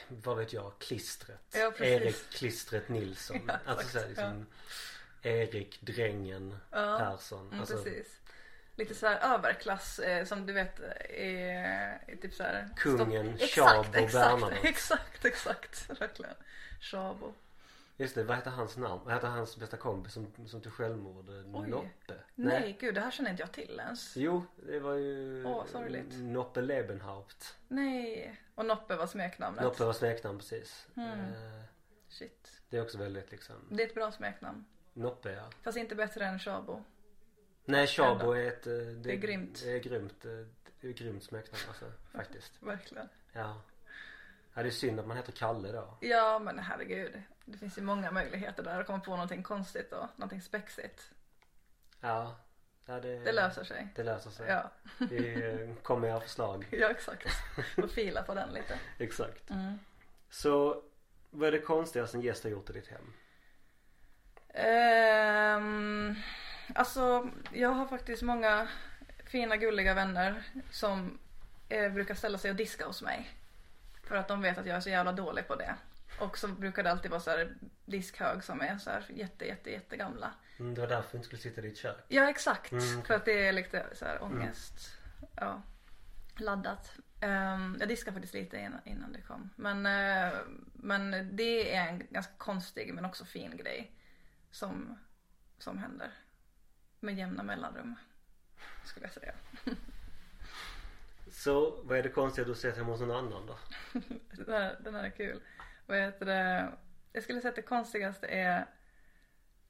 Speaker 1: Vad vet jag? Klistret.
Speaker 2: Ja, precis.
Speaker 1: Erik Klistret Nilsson.
Speaker 2: <laughs> Ja,
Speaker 1: alltså
Speaker 2: exakt,
Speaker 1: så här, liksom, Erik Drängen
Speaker 2: Ja,
Speaker 1: Persson.
Speaker 2: mm,
Speaker 1: Alltså,
Speaker 2: precis. Lite så här överklass eh, som du vet är, är typ så här.
Speaker 1: Kungen,
Speaker 2: Stopp-
Speaker 1: Tjabo,
Speaker 2: exakt, exakt,
Speaker 1: Bernadotte.
Speaker 2: <laughs> exakt, exakt, verkligen. Tjabo.
Speaker 1: Just det, vad heter hans namn? Vad heter hans bästa kompis som, som tog självmord? Eh,
Speaker 2: Oj.
Speaker 1: Noppe?
Speaker 2: Nej. gud det här känner inte jag till ens.
Speaker 1: Jo, det var ju
Speaker 2: Åh, sorgligt.
Speaker 1: Noppe Lebenhaupt.
Speaker 2: Nej. Och Noppe var smeknamnet.
Speaker 1: Noppe var smeknamn precis.
Speaker 2: Mm.
Speaker 1: Eh,
Speaker 2: Shit.
Speaker 1: Det är också väldigt liksom,
Speaker 2: Det är ett bra smeknamn.
Speaker 1: Noppe ja.
Speaker 2: Fast inte bättre än Tjabo.
Speaker 1: Nej, Tjabo
Speaker 2: Ändå.
Speaker 1: är ett... eh, Det, det
Speaker 2: är grymt.
Speaker 1: Det är grymt. eh, Det är grymt smeknamn
Speaker 2: <laughs>
Speaker 1: alltså, faktiskt.
Speaker 2: Verkligen.
Speaker 1: Ja. Ja, det är synd att man heter Kalle då.
Speaker 2: Ja men herregud. Det finns ju många möjligheter där att komma på någonting konstigt och någonting spexigt.
Speaker 1: Ja. ja det,
Speaker 2: Det löser sig.
Speaker 1: Det löser sig.
Speaker 2: Ja,
Speaker 1: Vi eh, kommer med era förslag.
Speaker 2: <laughs> ja exakt. <laughs> Och fila på den lite.
Speaker 1: Exakt.
Speaker 2: Mm.
Speaker 1: Så, vad är det konstigaste en gäst har gjort i ditt hem?
Speaker 2: Ehm, alltså jag har faktiskt många fina gulliga vänner som eh, brukar ställa sig och diska hos mig. För att de vet att jag är så jävla dålig på det. Och så brukar det alltid vara så här diskhög som är så här jätte jätte jätte gamla.
Speaker 1: Mm, det var därför du inte skulle sitta i ditt kök.
Speaker 2: Ja exakt.
Speaker 1: Mm, okej. Mm.
Speaker 2: För att det är lite så här ångest. Ja. Laddat. Ehm, jag diskade faktiskt lite innan, innan det kom. Men, eh, men det är en ganska konstig men också fin grej. Som, som händer. Med jämna mellanrum. Skulle jag säga.
Speaker 1: Så, vad är det konstiga du har sett hemma hos någon annan då?
Speaker 2: Den här, den här är kul. Vad heter det? Jag skulle säga att det konstigaste är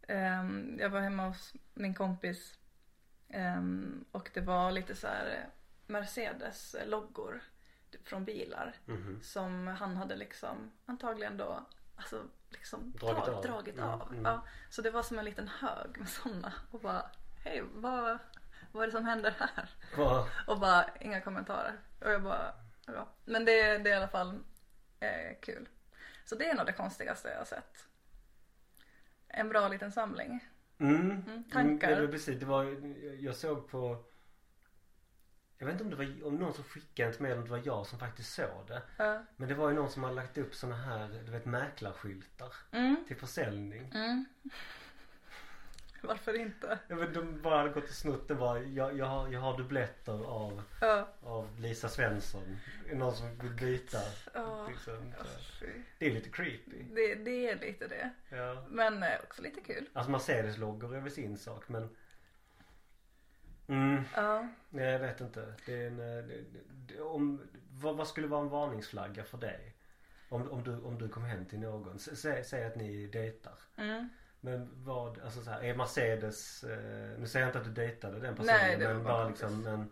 Speaker 2: ehm, Jag var hemma hos min kompis ehm, och det var lite så här eh, Mercedes-loggor typ från bilar
Speaker 1: Mhm.
Speaker 2: som han hade liksom antagligen då alltså liksom
Speaker 1: Dragit
Speaker 2: tag-
Speaker 1: av.
Speaker 2: Dragit
Speaker 1: Mm,
Speaker 2: av.
Speaker 1: mm.
Speaker 2: Ja, så det var som en liten hög med sådana och bara hej vad, vad är det som händer här?
Speaker 1: Vad-
Speaker 2: Och bara inga kommentarer. Och jag bara, ja. Men det, det är i alla fall eh, kul. Så det är nog det konstigaste jag har sett. En bra liten samling.
Speaker 1: Mm.
Speaker 2: tankar.
Speaker 1: Mm, ja, men precis, det var, jag såg på jag vet inte om det var om någon som skickade ett mejl eller om det var jag som faktiskt såg det.
Speaker 2: Ja.
Speaker 1: Men det var ju någon som hade lagt upp såna här, du vet mäklarskyltar
Speaker 2: Mm.
Speaker 1: till försäljning.
Speaker 2: Mm. <laughs> Varför inte?
Speaker 1: Ja, men de bara hade gått och snott det bara, jag, jag, har, jag har dubbletter av,
Speaker 2: Ja.
Speaker 1: av Lisa Svensson. Är det Någon som vill byta.
Speaker 2: Ja.
Speaker 1: Liksom, så.
Speaker 2: Alltså, fy.
Speaker 1: det är lite creepy.
Speaker 2: Det, det är lite det.
Speaker 1: Ja.
Speaker 2: Men eh, också lite kul.
Speaker 1: Alltså Mercedes-loggor är väl sin sak men mm.
Speaker 2: Ja.
Speaker 1: Nej jag vet inte. Det är en, eh, det, det, om, vad, vad skulle vara en varningsflagga för dig? Om, om, du, om du kom hem till någon. S- Säg, säg att ni dejtar.
Speaker 2: Mm.
Speaker 1: Men vad, alltså så här, är Mercedes, eh, nu säger jag inte att du dejtade den personen
Speaker 2: Nej, det var
Speaker 1: men
Speaker 2: bara
Speaker 1: bara
Speaker 2: kompis.
Speaker 1: liksom men,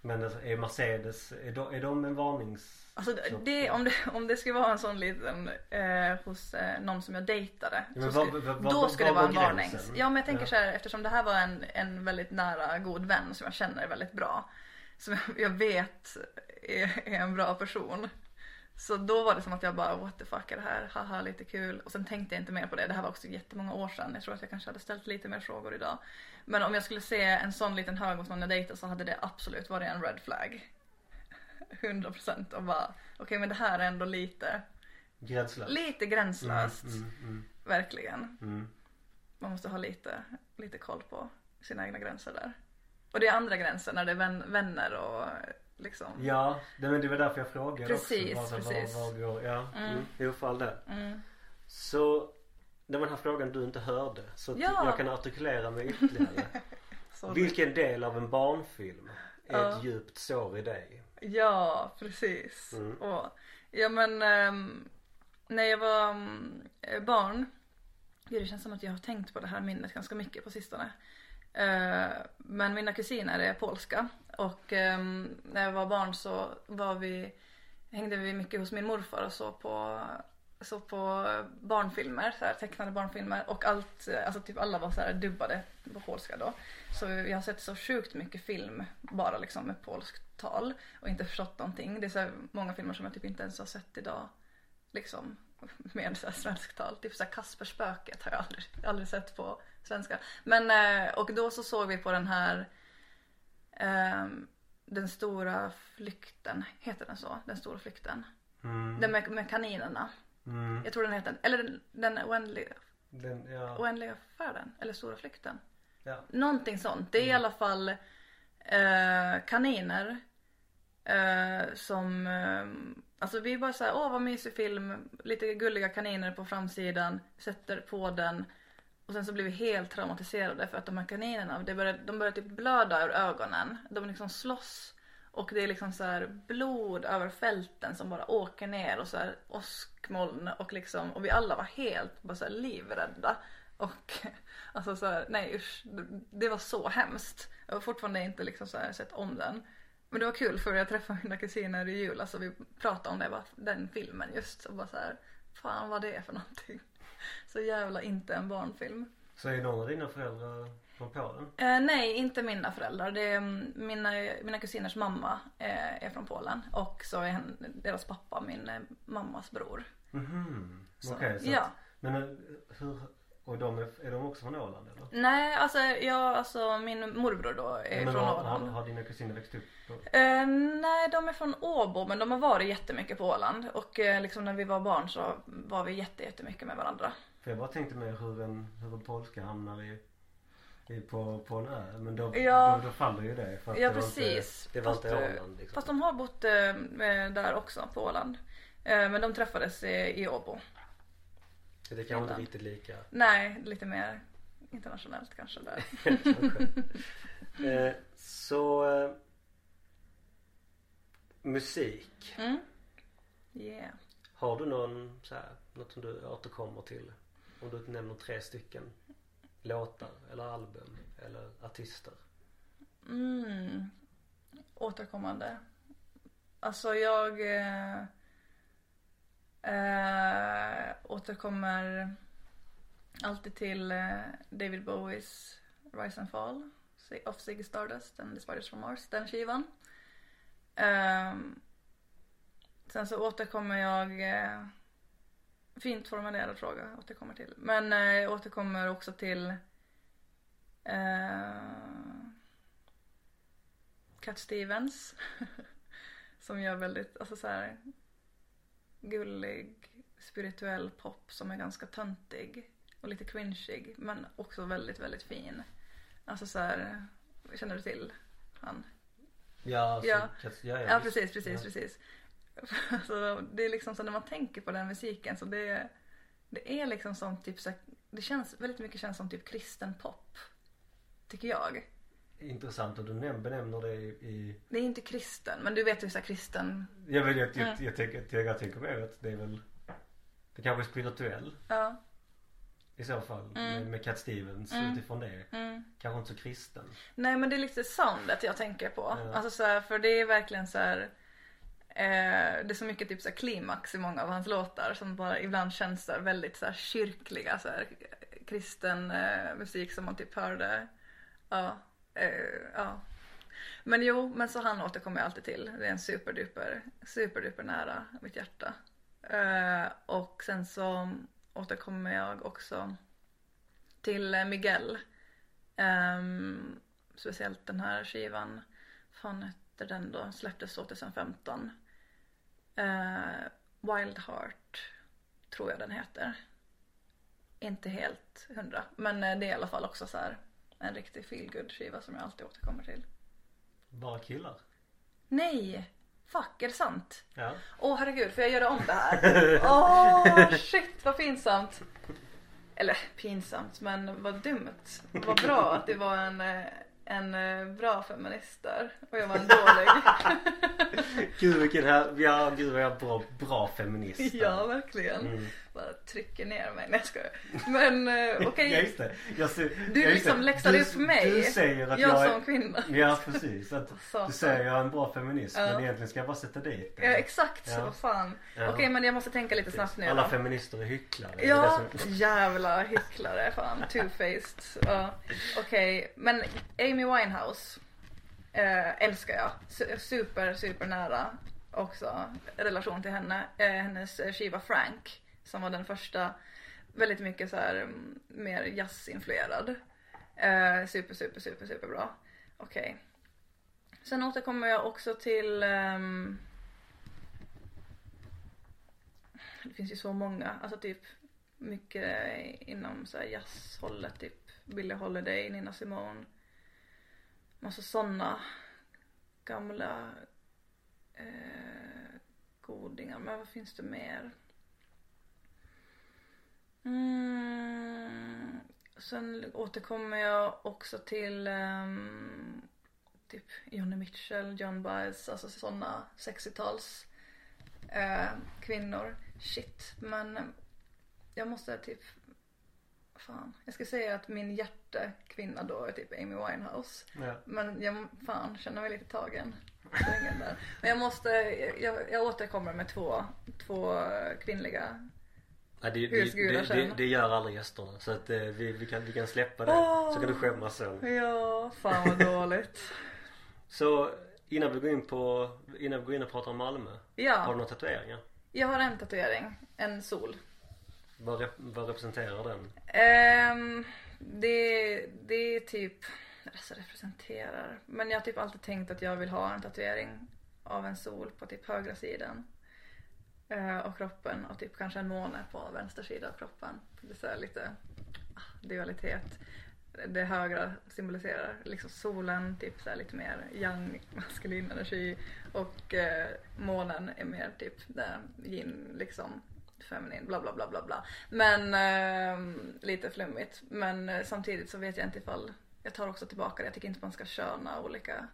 Speaker 1: men alltså, är Mercedes, är de, är de en varnings...
Speaker 2: Alltså det, det, om, det, om det skulle vara en sån liten eh, hos eh, någon som jag dejtade.
Speaker 1: Ja,
Speaker 2: så
Speaker 1: men
Speaker 2: skulle-
Speaker 1: vad- vad- vad-
Speaker 2: Då skulle det
Speaker 1: vad
Speaker 2: vara
Speaker 1: går
Speaker 2: en varning.
Speaker 1: gränsen?
Speaker 2: Ja men jag tänker
Speaker 1: Ja.
Speaker 2: så här eftersom det här var en, en väldigt nära god vän som jag känner väldigt bra. Som jag- jag vet är, är en bra person. Så då var det som att jag bara what the fuck är det här, haha lite kul. Och sen tänkte jag inte mer på det, det här var också jättemånga år sedan. Jag tror att jag kanske hade ställt lite mer frågor idag. Men om jag skulle se en sån liten hög hos någon jag dejtar så hade det absolut varit en red flag. <laughs> 100% och bara okej men det här är ändå lite,
Speaker 1: Gränslöst.
Speaker 2: lite gränslöst.
Speaker 1: Mm, mm,
Speaker 2: Verkligen
Speaker 1: mm.
Speaker 2: man måste ha lite, lite koll på sina egna gränser där. Och det är andra gränser när det är vän, vänner och liksom.
Speaker 1: Ja, det, men det var därför jag frågade
Speaker 2: Precis,
Speaker 1: också. Var,
Speaker 2: precis.
Speaker 1: Var, var går, ja,
Speaker 2: Mm.
Speaker 1: mm. jo fall det.
Speaker 2: Mm.
Speaker 1: Så det var den här frågan du inte hörde så att
Speaker 2: Ja. <laughs>
Speaker 1: jag kan artikulera mig ytterligare.
Speaker 2: Så
Speaker 1: Vilken del av en barnfilm är
Speaker 2: Ja.
Speaker 1: ett djupt sår i dig.
Speaker 2: Ja, precis.
Speaker 1: Mm.
Speaker 2: Och, ja men ehm, när jag var mm, eh, barn, gud det känns som att jag har tänkt på det här minnet ganska mycket på sistone. Eh, men mina kusiner är polska och ehm, när jag var barn så var vi, hängde vi mycket hos min morfar och så på så på barnfilmer, så här, tecknade barnfilmer och allt, eh, alltså typ alla var så här dubbade på polska då. Så jag har sett så sjukt mycket film bara liksom med polskt tal och inte förstått någonting. Det är så här många filmer som jag typ inte ens har sett idag liksom med så här svenskt tal. Typ så här Kasper spöket har jag aldrig, aldrig sett på svenska. Men eh, och då så såg vi på den här ehm, den stora flykten, heter den så? Den stora flykten.
Speaker 1: Mm.
Speaker 2: Den med, med kaninerna.
Speaker 1: Mm.
Speaker 2: Jag tror den heter, eller den, den oändliga,
Speaker 1: Den, ja.
Speaker 2: oändliga färden, eller stora flykten.
Speaker 1: ja.
Speaker 2: Någonting sånt. Det är i alla fall eh, kaniner eh, som, eh, alltså vi är bara såhär, åh vad mysig film, lite gulliga kaniner på framsidan, sätter på den och sen så blir vi helt traumatiserade för att de här kaninerna, det börjar, de börjar typ blöda ur ögonen, de liksom slåss och det är liksom så här blod över fälten som bara åker ner och så här åskmoln och liksom och vi alla var helt bara så här livrädda. Och <laughs> alltså så här, nej usch, det- det var så hemskt. Jag har fortfarande inte liksom så här sett om den. Men det var kul för jag träffade mina kusiner i jul, alltså vi pratade om det, bara, den filmen just. Och bara så här, fan vad det är för någonting. <laughs> Så jävla inte en barnfilm.
Speaker 1: Så är någon av dina föräldrar från Polen?
Speaker 2: Eh, nej, inte mina föräldrar. Det är, mm, mina, mina kusiners mamma eh, är från Polen och så är hen, deras pappa min eh, mammas bror.
Speaker 1: Mhm.
Speaker 2: Så,
Speaker 1: Okej. så
Speaker 2: ja.
Speaker 1: att- Men eh, hur, och de är, är de också från Åland eller?
Speaker 2: Nej, alltså, jag, alltså min morbror då är
Speaker 1: men
Speaker 2: från
Speaker 1: har, har,
Speaker 2: Åland.
Speaker 1: har dina kusiner växt upp? på-
Speaker 2: Eh, nej, de är från Åbo men de har varit jättemycket på Åland och eh, liksom när vi var barn så var vi jätte, jättemycket med varandra.
Speaker 1: För jag bara tänkte mer hur en, hur en polska hamnar i, i på, på en ö. Men då,
Speaker 2: Ja.
Speaker 1: då, då faller ju det. För att
Speaker 2: Ja,
Speaker 1: det
Speaker 2: precis.
Speaker 1: Var inte, det var
Speaker 2: Fast,
Speaker 1: inte
Speaker 2: eh,
Speaker 1: Åland liksom.
Speaker 2: Fast de har bott eh, eh, där också, på Åland. Eh, men de träffades i, i Åbo.
Speaker 1: Så det kanske inte
Speaker 2: Finland.
Speaker 1: riktigt
Speaker 2: <laughs>
Speaker 1: lika.
Speaker 2: Nej, lite mer internationellt kanske där.
Speaker 1: kanske. Eh, så eh, musik.
Speaker 2: Mm. Yeah.
Speaker 1: Har du någon så här, något som du återkommer till? Om du nämner tre stycken låtar eller album eller artister.
Speaker 2: Mm. Återkommande. Alltså jag eh, eh, återkommer alltid till eh, David Bowies Rise and Fall Si- of Ziggy Stardust and The Spiders from Mars, den skivan. Ehm, sen så återkommer jag, eh, fint formulerad fråga återkommer till, men eh, jag återkommer också till eh, Cat Stevens. <laughs> som gör väldigt, alltså så här gullig, spirituell pop som är ganska töntig och lite cringeig men också väldigt, väldigt fin. Alltså så här, känner du till han?
Speaker 1: Ja, alltså,
Speaker 2: Ja.
Speaker 1: Kats- ja, ja,
Speaker 2: Ja
Speaker 1: visst.
Speaker 2: precis, precis,
Speaker 1: Ja.
Speaker 2: precis. <laughs> Alltså, det är liksom så när man tänker på den musiken så det, det är liksom som typ så här, det känns väldigt mycket känns som typ kristen pop. Tycker jag.
Speaker 1: Intressant att du näm- benämner det i, i
Speaker 2: Det är inte kristen men du vet hur så här kristen,
Speaker 1: jag, vet, jag, jag,
Speaker 2: Mm.
Speaker 1: jag, tänker, jag, jag tänker mer att det är väl Det kanske är spirituell
Speaker 2: ja.
Speaker 1: i så fall
Speaker 2: Mm.
Speaker 1: med, med Cat Stevens utifrån det Kanske inte så kristen
Speaker 2: Nej men det är lite soundet jag tänker på.
Speaker 1: Ja.
Speaker 2: Alltså så här, för det är verkligen så här. Eh, det är så mycket typ så här klimax i många av hans låtar som bara ibland känns så här väldigt så här kyrkliga så här, kristen eh, musik som man typ hörde. Ja, eh, ja. Men jo, men så han återkommer jag alltid till. Det är en superduper, superduper nära mitt hjärta. Eh, och sen så återkommer jag också till eh, Miguel. Ehm, speciellt den här skivan. Fan hette den då? Släpptes 2015. Eh, Wild Heart tror jag den heter. Inte helt hundra. Men eh, det är i alla fall också så här en riktig feelgood skiva som jag alltid återkommer till.
Speaker 1: Bara killar
Speaker 2: Nej! Fuck, är det sant? <laughs>
Speaker 1: Ja
Speaker 2: Åh herregud, får jag göra om
Speaker 1: <laughs>
Speaker 2: det här? Åh shit vad pinsamt! Eller pinsamt, men vad dumt. Vad bra att det var en, eh, en eh, bra feminist där och jag var
Speaker 1: <laughs>
Speaker 2: en dålig.
Speaker 1: Gud vilken här, ja gud vad jag är bra, bra feminist.
Speaker 2: ja verkligen.
Speaker 1: Mm.
Speaker 2: Bara trycker ner mig. Nej jag skojar.
Speaker 1: <laughs>
Speaker 2: Men eh, okej.
Speaker 1: Ja, just det. Jag ser,
Speaker 2: Du
Speaker 1: ja, just det.
Speaker 2: liksom läxar
Speaker 1: Du-
Speaker 2: upp mig.
Speaker 1: Du säger att jag,
Speaker 2: Jag
Speaker 1: är...
Speaker 2: som kvinna.
Speaker 1: Ja precis. Att
Speaker 2: Satan.
Speaker 1: du säger jag är en bra feminist
Speaker 2: Ja.
Speaker 1: men egentligen ska jag bara sätta dit
Speaker 2: Ja, exakt så,
Speaker 1: Ja.
Speaker 2: fan.
Speaker 1: Ja.
Speaker 2: Okej men jag måste tänka lite snabbt nu.
Speaker 1: Alla
Speaker 2: då.
Speaker 1: feminister är hycklare. Det är
Speaker 2: Ja,
Speaker 1: det som-
Speaker 2: jävla hycklare fan. Two-faced. Ja. Okej, men Amy Winehouse eh, älskar jag. Su- Super, super nära också relation till henne. Eh, hennes eh, skiva Frank som var den första väldigt mycket så här mm, mer jazzinfluerad. Eh, super, super, super, super bra. Okej. Sen återkommer jag också till ehm, det finns ju så många, alltså typ mycket inom så här jazzhållet, typ Billie Holiday, Nina Simone. Massa sådana gamla eh, godingar. Men vad finns det mer? Mm, sen återkommer jag också till ehm, typ Johnny Mitchell, John Baez, alltså sådana 60-tals eh, kvinnor. Shit, men eh, jag måste typ Fan, jag ska säga att min hjärtekvinna då är typ Amy Winehouse.
Speaker 1: Ja.
Speaker 2: Men jag fan känner mig lite tagen. Sängen där. Men jag måste, jag, jag återkommer med två, två kvinnliga.
Speaker 1: Ja, det, det,
Speaker 2: Husgudar
Speaker 1: det, det,
Speaker 2: sen.
Speaker 1: det gör alla gästerna så att eh, vi, vi, kan, vi kan släppa det
Speaker 2: Åh.
Speaker 1: så kan du skämmas sen.
Speaker 2: Ja, fan vad dåligt.
Speaker 1: Så innan vi går in på, innan vi går in och pratar om Malmö. Har du
Speaker 2: Ja,
Speaker 1: några tatueringar?
Speaker 2: jag har en tatuering. En sol.
Speaker 1: Vad, rep, vad representerar den?
Speaker 2: Ehm, det, det är typ, alltså representerar. Men jag har typ alltid tänkt att jag vill ha en tatuering av en sol på typ högra sidan. eh, av kroppen och typ kanske en måne på vänster sida av kroppen. Det är så här lite ah, dualitet. Det högra symboliserar liksom solen, typ så här lite mer yang, maskulin energi och eh, månen är mer typ där yin liksom feminin bla bla bla bla bla. Men ehm, lite flummigt. Men eh, samtidigt så vet jag inte ifall, jag tar också tillbaka det, jag tycker inte man ska köna olika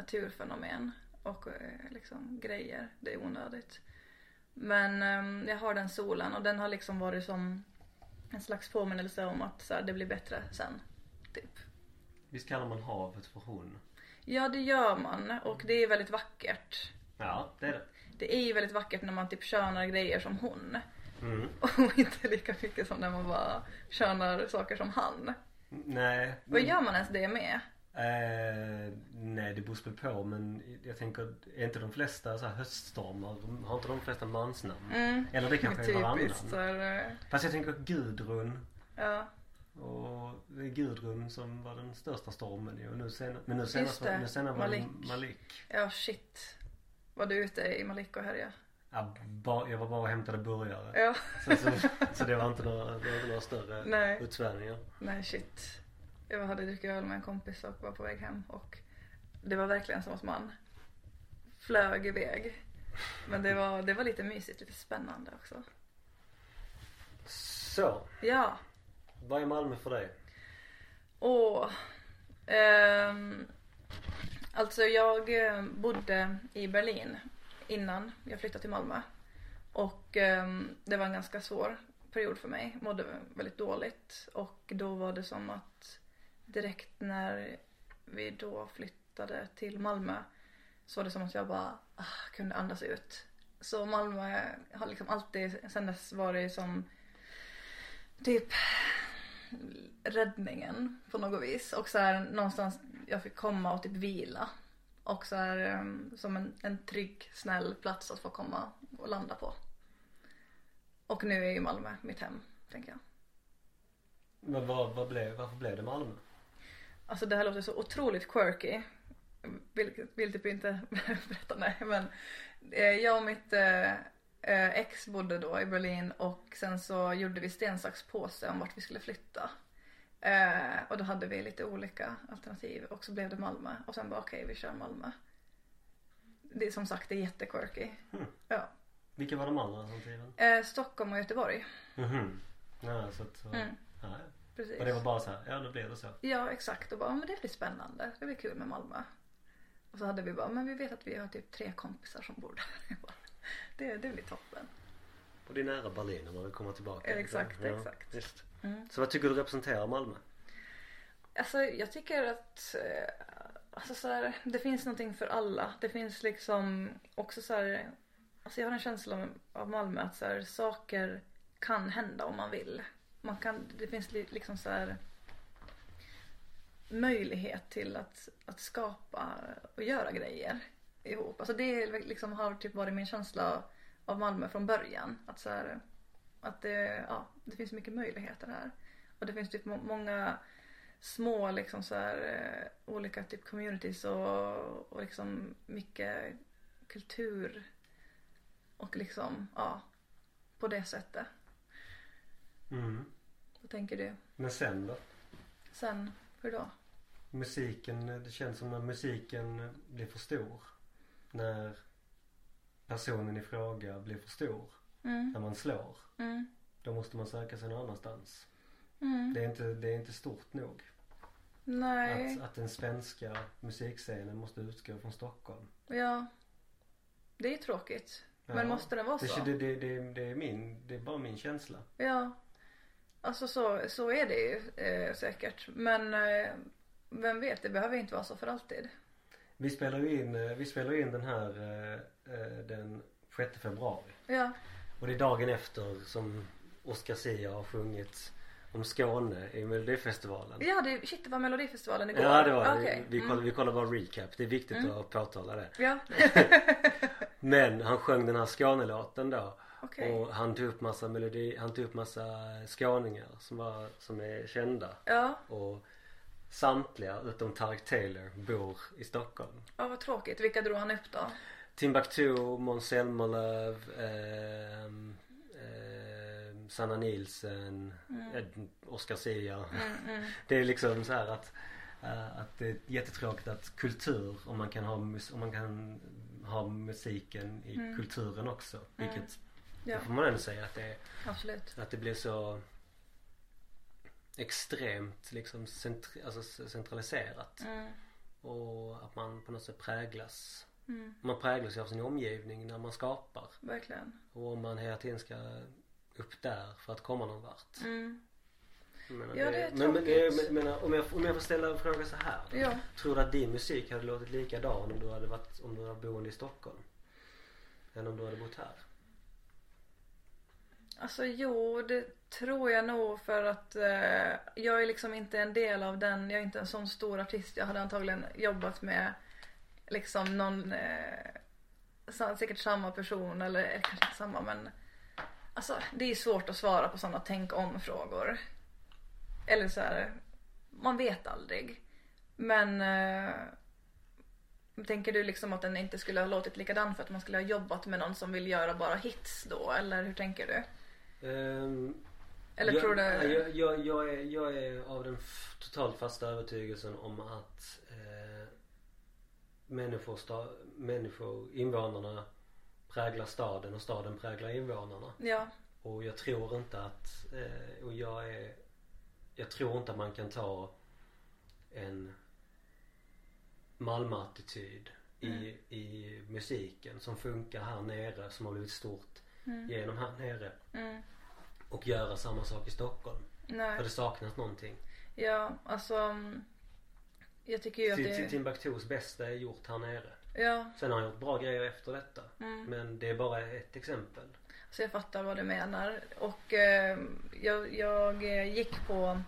Speaker 2: naturfenomen och eh, liksom grejer. Det är onödigt. Men ehm, jag har den solen och den har liksom varit som en slags påminnelse om att så här, det blir bättre sen. Typ.
Speaker 1: Visst kallar man havet för hon?
Speaker 2: Ja, det gör man och det är väldigt vackert.
Speaker 1: Ja, det är det.
Speaker 2: Det är ju väldigt vackert när man typ könar grejer som hon <laughs>
Speaker 1: Mm.
Speaker 2: och inte lika mycket som när man bara könar saker som han.
Speaker 1: Nej.
Speaker 2: Vad
Speaker 1: men-
Speaker 2: gör man ens det med?
Speaker 1: Eh, nej det beror väl på men jag tänker, är inte de flesta så här höststormar, har inte de flesta mansnamn?
Speaker 2: Mm.
Speaker 1: Eller det kanske är
Speaker 2: Typiskt
Speaker 1: varannan?
Speaker 2: så här, eh,
Speaker 1: Fast jag tänker Gudrun
Speaker 2: ja.
Speaker 1: och det är Gudrun som var den största stormen ju och nu sen, men nu
Speaker 2: Just
Speaker 1: senast,
Speaker 2: det,
Speaker 1: var- nu senast var det
Speaker 2: Malik.
Speaker 1: Malik.
Speaker 2: ja, shit. Var du ute i Malik och härja?
Speaker 1: Ja, ba, jag var bara och hämtade burgare.
Speaker 2: Ja,
Speaker 1: Så, så, så det var inte några, det var inte några större
Speaker 2: nej.
Speaker 1: utsvävningar.
Speaker 2: Nej shit. Jag hade druckit öl med en kompis och var på väg hem och det var verkligen som att man flög iväg. Men det var, det var lite mysigt, lite spännande också.
Speaker 1: Så,
Speaker 2: Ja,
Speaker 1: vad är Malmö för dig?
Speaker 2: åh. Ehm, alltså jag eh, bodde i Berlin innan jag flyttade till Malmö. Och ehm, det var en ganska svår period för mig. Mådde väldigt dåligt. Och då var det som att direkt när vi då flyttade till Malmö så var det som att jag bara ah, kunde andas ut. Så Malmö har liksom alltid sen dess varit som typ räddningen på något vis. Och så här någonstans jag fick komma och typ vila. Och så här ehm, som en, en trygg, snäll plats att få komma och landa på. Och nu är ju Malmö mitt hem, tänker jag.
Speaker 1: Men vad, vad blev, varför blev det Malmö?
Speaker 2: Alltså det här låter så otroligt quirky. Vill, vill typ inte <laughs> berätta nej men eh, jag och mitt eh, eh, ex bodde då i Berlin och sen så gjorde vi sten, sax, påse om vart vi skulle flytta. Eh, och då hade vi lite olika alternativ och så blev det Malmö och sen bara okej vi kör Malmö. Det är som sagt det är jättequirky.
Speaker 1: Hmm.
Speaker 2: Ja.
Speaker 1: Vilka var de andra alternativen?
Speaker 2: Eh, Stockholm och Göteborg.
Speaker 1: Mhm. Ja, så att, så,
Speaker 2: Mm.
Speaker 1: nej.
Speaker 2: Precis.
Speaker 1: Och det var bara så här, ja då blev det så.
Speaker 2: Ja exakt och bara, men det blir spännande. Det blir kul med Malmö. Och så hade vi bara, men vi vet att vi har typ tre kompisar som bor där. <laughs> Jag bara, Det, det blir toppen.
Speaker 1: Och det är nära Berlin om man vill komma tillbaka.
Speaker 2: Exakt, exakt.
Speaker 1: Visst.
Speaker 2: Mm.
Speaker 1: Så vad tycker du representerar Malmö?
Speaker 2: Alltså jag tycker att eh, alltså, så här, det finns någonting för alla. Det finns liksom också så här, alltså jag har en känsla om- av Malmö att så här, saker kan hända om man vill. Man kan, det finns li, liksom så här möjlighet till att, att skapa och göra grejer ihop. Alltså det är liksom har typ varit min känsla av Malmö från början. Att, så här, att det, ja, det finns mycket möjligheter här. Och det finns typ må- många små liksom så här, eh, olika typ communities och, och liksom mycket kultur och liksom ja på det sättet.
Speaker 1: Mm.
Speaker 2: Vad tänker du?
Speaker 1: Men sen då?
Speaker 2: Sen, hur då?
Speaker 1: Musiken, det känns som när musiken blir för stor. När personen i fråga blir för stor.
Speaker 2: Mm,
Speaker 1: När man slår.
Speaker 2: mm,
Speaker 1: Då måste man söka sig någon annanstans.
Speaker 2: mm.
Speaker 1: Det är inte, det är inte stort nog.
Speaker 2: Nej,
Speaker 1: Att, att den svenska musikscenen måste utgå från Stockholm.
Speaker 2: ja. Det är tråkigt. Men
Speaker 1: Ja.
Speaker 2: måste den vara
Speaker 1: Det,
Speaker 2: så?
Speaker 1: det, det, det, det är min, det är bara min känsla.
Speaker 2: Ja. Alltså så, så är det ju eh, säkert. Men eh, vem vet, det behöver inte vara så för alltid.
Speaker 1: Vi spelar ju in, eh, vi spelar ju in den här eh, eh, den 6 februari.
Speaker 2: Ja,
Speaker 1: Och det är dagen efter som Oscar Sia har sjungit om Skåne i Melodifestivalen.
Speaker 2: ja det, shit det var Melodifestivalen igår.
Speaker 1: Ja det var det.
Speaker 2: Okej.
Speaker 1: Vi,
Speaker 2: Mm.
Speaker 1: kollar, vi kollar bara recap. Det är viktigt att påtala det.
Speaker 2: Ja,
Speaker 1: Men han sjöng den här Skånelåten då.
Speaker 2: okej.
Speaker 1: Och han tog upp massa melodi, han tog upp massa skåningar som, var, som är kända.
Speaker 2: Ja,
Speaker 1: Och samtliga utom Tarek Taylor bor i Stockholm.
Speaker 2: ja, vad tråkigt. Vilka drog han upp då?
Speaker 1: Timbuktu, Måns Zelmerlöw, ehm, ehm, Sanna Nielsen,
Speaker 2: Mm.
Speaker 1: eh, Oscar Sia. Det är liksom så här att, eh, att det är jättetråkigt att kultur, om man kan ha, mus- om man kan ha musiken i kulturen också. Vilket,
Speaker 2: Ja,
Speaker 1: det får man ändå säga att det är.
Speaker 2: absolut.
Speaker 1: Att det blir så extremt liksom centri- alltså c- centraliserat.
Speaker 2: Mm.
Speaker 1: Och att man på något sätt präglas.
Speaker 2: Mm.
Speaker 1: Man präglas ju av sin omgivning när man skapar.
Speaker 2: Verkligen.
Speaker 1: Och om man hela tiden ska upp där för att komma någon vart.
Speaker 2: Mm.
Speaker 1: Jag menar,
Speaker 2: Ja, det är
Speaker 1: men, men, det är-
Speaker 2: tråkigt.
Speaker 1: men, menar, om, jag, om jag får ställa en fråga så här.
Speaker 2: Ja.
Speaker 1: Tror du att din musik hade låtit likadan om du hade varit om du hade boende i Stockholm? Än om du hade bott här?
Speaker 2: Alltså jo, det tror jag nog för att eh, jag är liksom inte en del av den, jag är inte en sån stor artist. Jag hade antagligen jobbat med liksom någon, eh, sa- säkert samma person eller, eller kanske inte samma men alltså det är svårt att svara på sådana tänk om frågor. Eller så här, man vet aldrig. Men eh, tänker du liksom att den inte skulle ha låtit likadan för att man skulle ha jobbat med någon som vill göra bara hits då eller hur tänker du?
Speaker 1: Ehm,
Speaker 2: Eller
Speaker 1: jag,
Speaker 2: tror du...
Speaker 1: nej, Jag, jag, jag, är, jag är av den f- totalt fasta övertygelsen om att eh, människor, sta, människor, invånarna präglar staden och staden präglar invånarna.
Speaker 2: Ja,
Speaker 1: Och jag tror inte att, eh, och jag är, jag tror inte att man kan ta en Malmö-attityd i, i musiken som funkar här nere, som har blivit stort genom här nere
Speaker 2: mm,
Speaker 1: och göra samma sak i Stockholm. För
Speaker 2: nej.
Speaker 1: det saknas någonting.
Speaker 2: Ja, alltså... mm, Jag tycker ju att
Speaker 1: Tim- Tim-
Speaker 2: det...
Speaker 1: Timbuktus bästa är gjort här nere.
Speaker 2: Ja,
Speaker 1: Sen har han gjort bra grejer efter detta.
Speaker 2: mm,
Speaker 1: Men det är bara ett exempel.
Speaker 2: så jag fattar vad du menar. Och eh, jag, jag eh, gick på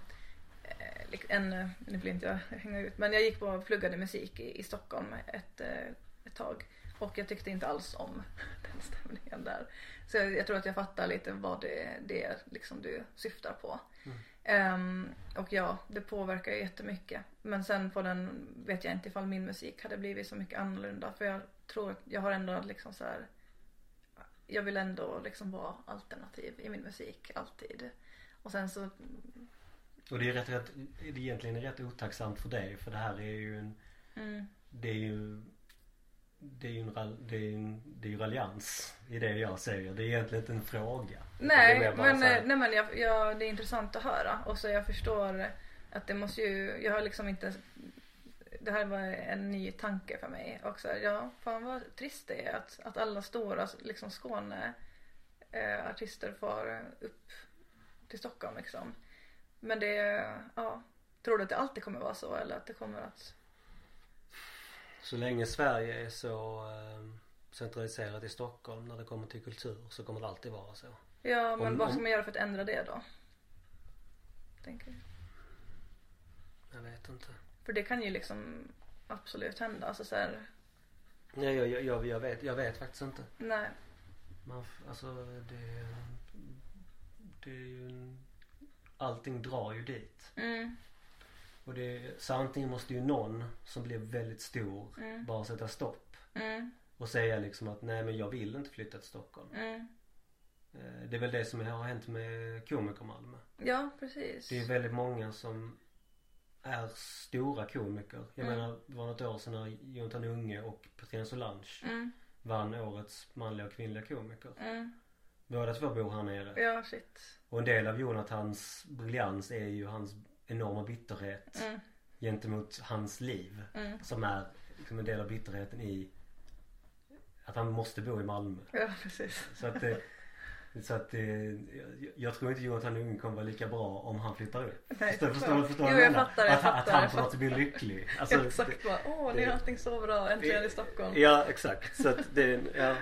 Speaker 2: eh, lik- en... Nu vill inte jag hänga ut. Men jag gick på och pluggade musik i, i Stockholm ett, eh, ett tag. Och jag tyckte inte alls om <laughs> den stämningen där. Så jag, jag tror att jag fattar lite vad det, det är liksom du syftar på. Ehm, och ja, det påverkar ju jättemycket. Men sen på den vet jag inte ifall min musik hade blivit så mycket annorlunda. För jag tror att jag har ändå liksom så här. Jag vill ändå liksom vara alternativ i min musik alltid. Och sen så,
Speaker 1: Och det är rätt, rätt, det är egentligen rätt otacksamt för dig för det här är ju en,
Speaker 2: mm,
Speaker 1: det är ju det är ju en, ral- det är ju en, det är ju raljans i det jag säger. Det är egentligen inte en fråga. Utan det är
Speaker 2: Nej
Speaker 1: mer bara
Speaker 2: men,
Speaker 1: så här-
Speaker 2: eh, nej men jag, jag, det är intressant att höra och så jag förstår att det måste ju, jag har liksom inte Det här var en ny tanke för mig och så här, ja fan vad trist det är att, att alla stora liksom Skåne eh, artister får upp till Stockholm liksom Men det, ja Tror du att det alltid kommer vara så eller att det kommer att
Speaker 1: Så länge Sverige är så eh, centraliserat i Stockholm när det kommer till kultur så kommer det alltid vara så.
Speaker 2: Ja men
Speaker 1: Om-
Speaker 2: vad ska
Speaker 1: om-
Speaker 2: man göra för att ändra det då? Tänker jag.
Speaker 1: Jag vet inte.
Speaker 2: För det kan ju liksom absolut hända alltså så här,
Speaker 1: Nej jag, jag, jag, jag, vet, jag vet faktiskt inte.
Speaker 2: nej
Speaker 1: Man, f- alltså det, det är ju en, Allting drar ju dit.
Speaker 2: Mm,
Speaker 1: Och det, så antingen måste ju någon som blir väldigt stor
Speaker 2: Mm.
Speaker 1: bara sätta stopp.
Speaker 2: mm,
Speaker 1: Och säga liksom att nej men jag vill inte flytta till Stockholm.
Speaker 2: mm.
Speaker 1: Eh, Det är väl det som har hänt med Komiker Malmö.
Speaker 2: Ja, precis.
Speaker 1: Det är väldigt många som är stora komiker. Jag
Speaker 2: Mm.
Speaker 1: menar det var något år sedan när Jonathan Unge och Petrina Solange
Speaker 2: Mm,
Speaker 1: vann årets manliga och kvinnliga komiker.
Speaker 2: mm.
Speaker 1: Båda två bor här nere.
Speaker 2: Ja, shit.
Speaker 1: Och en del av Jonathans briljans är ju hans enorma bitterhet
Speaker 2: Mm,
Speaker 1: gentemot hans liv.
Speaker 2: mm.
Speaker 1: Som är liksom en del av bitterheten i att han måste bo i Malmö.
Speaker 2: Ja, precis.
Speaker 1: Så att, det- så att det- jag, jag tror inte Jonathan Unge kommer vara lika bra om han flyttar upp.
Speaker 2: Nej,
Speaker 1: Förstår, förstår, du- förstår du
Speaker 2: Jo,
Speaker 1: vad
Speaker 2: jag
Speaker 1: menar?
Speaker 2: fattar, jag
Speaker 1: att, han- att
Speaker 2: fattar,
Speaker 1: han
Speaker 2: jag
Speaker 1: på något sätt blir lycklig. Alltså,
Speaker 2: <laughs> Exakt bara, åh nu är
Speaker 1: det-
Speaker 2: allting så bra, äntligen i Stockholm.
Speaker 1: det, ja exakt. Så att det, ja.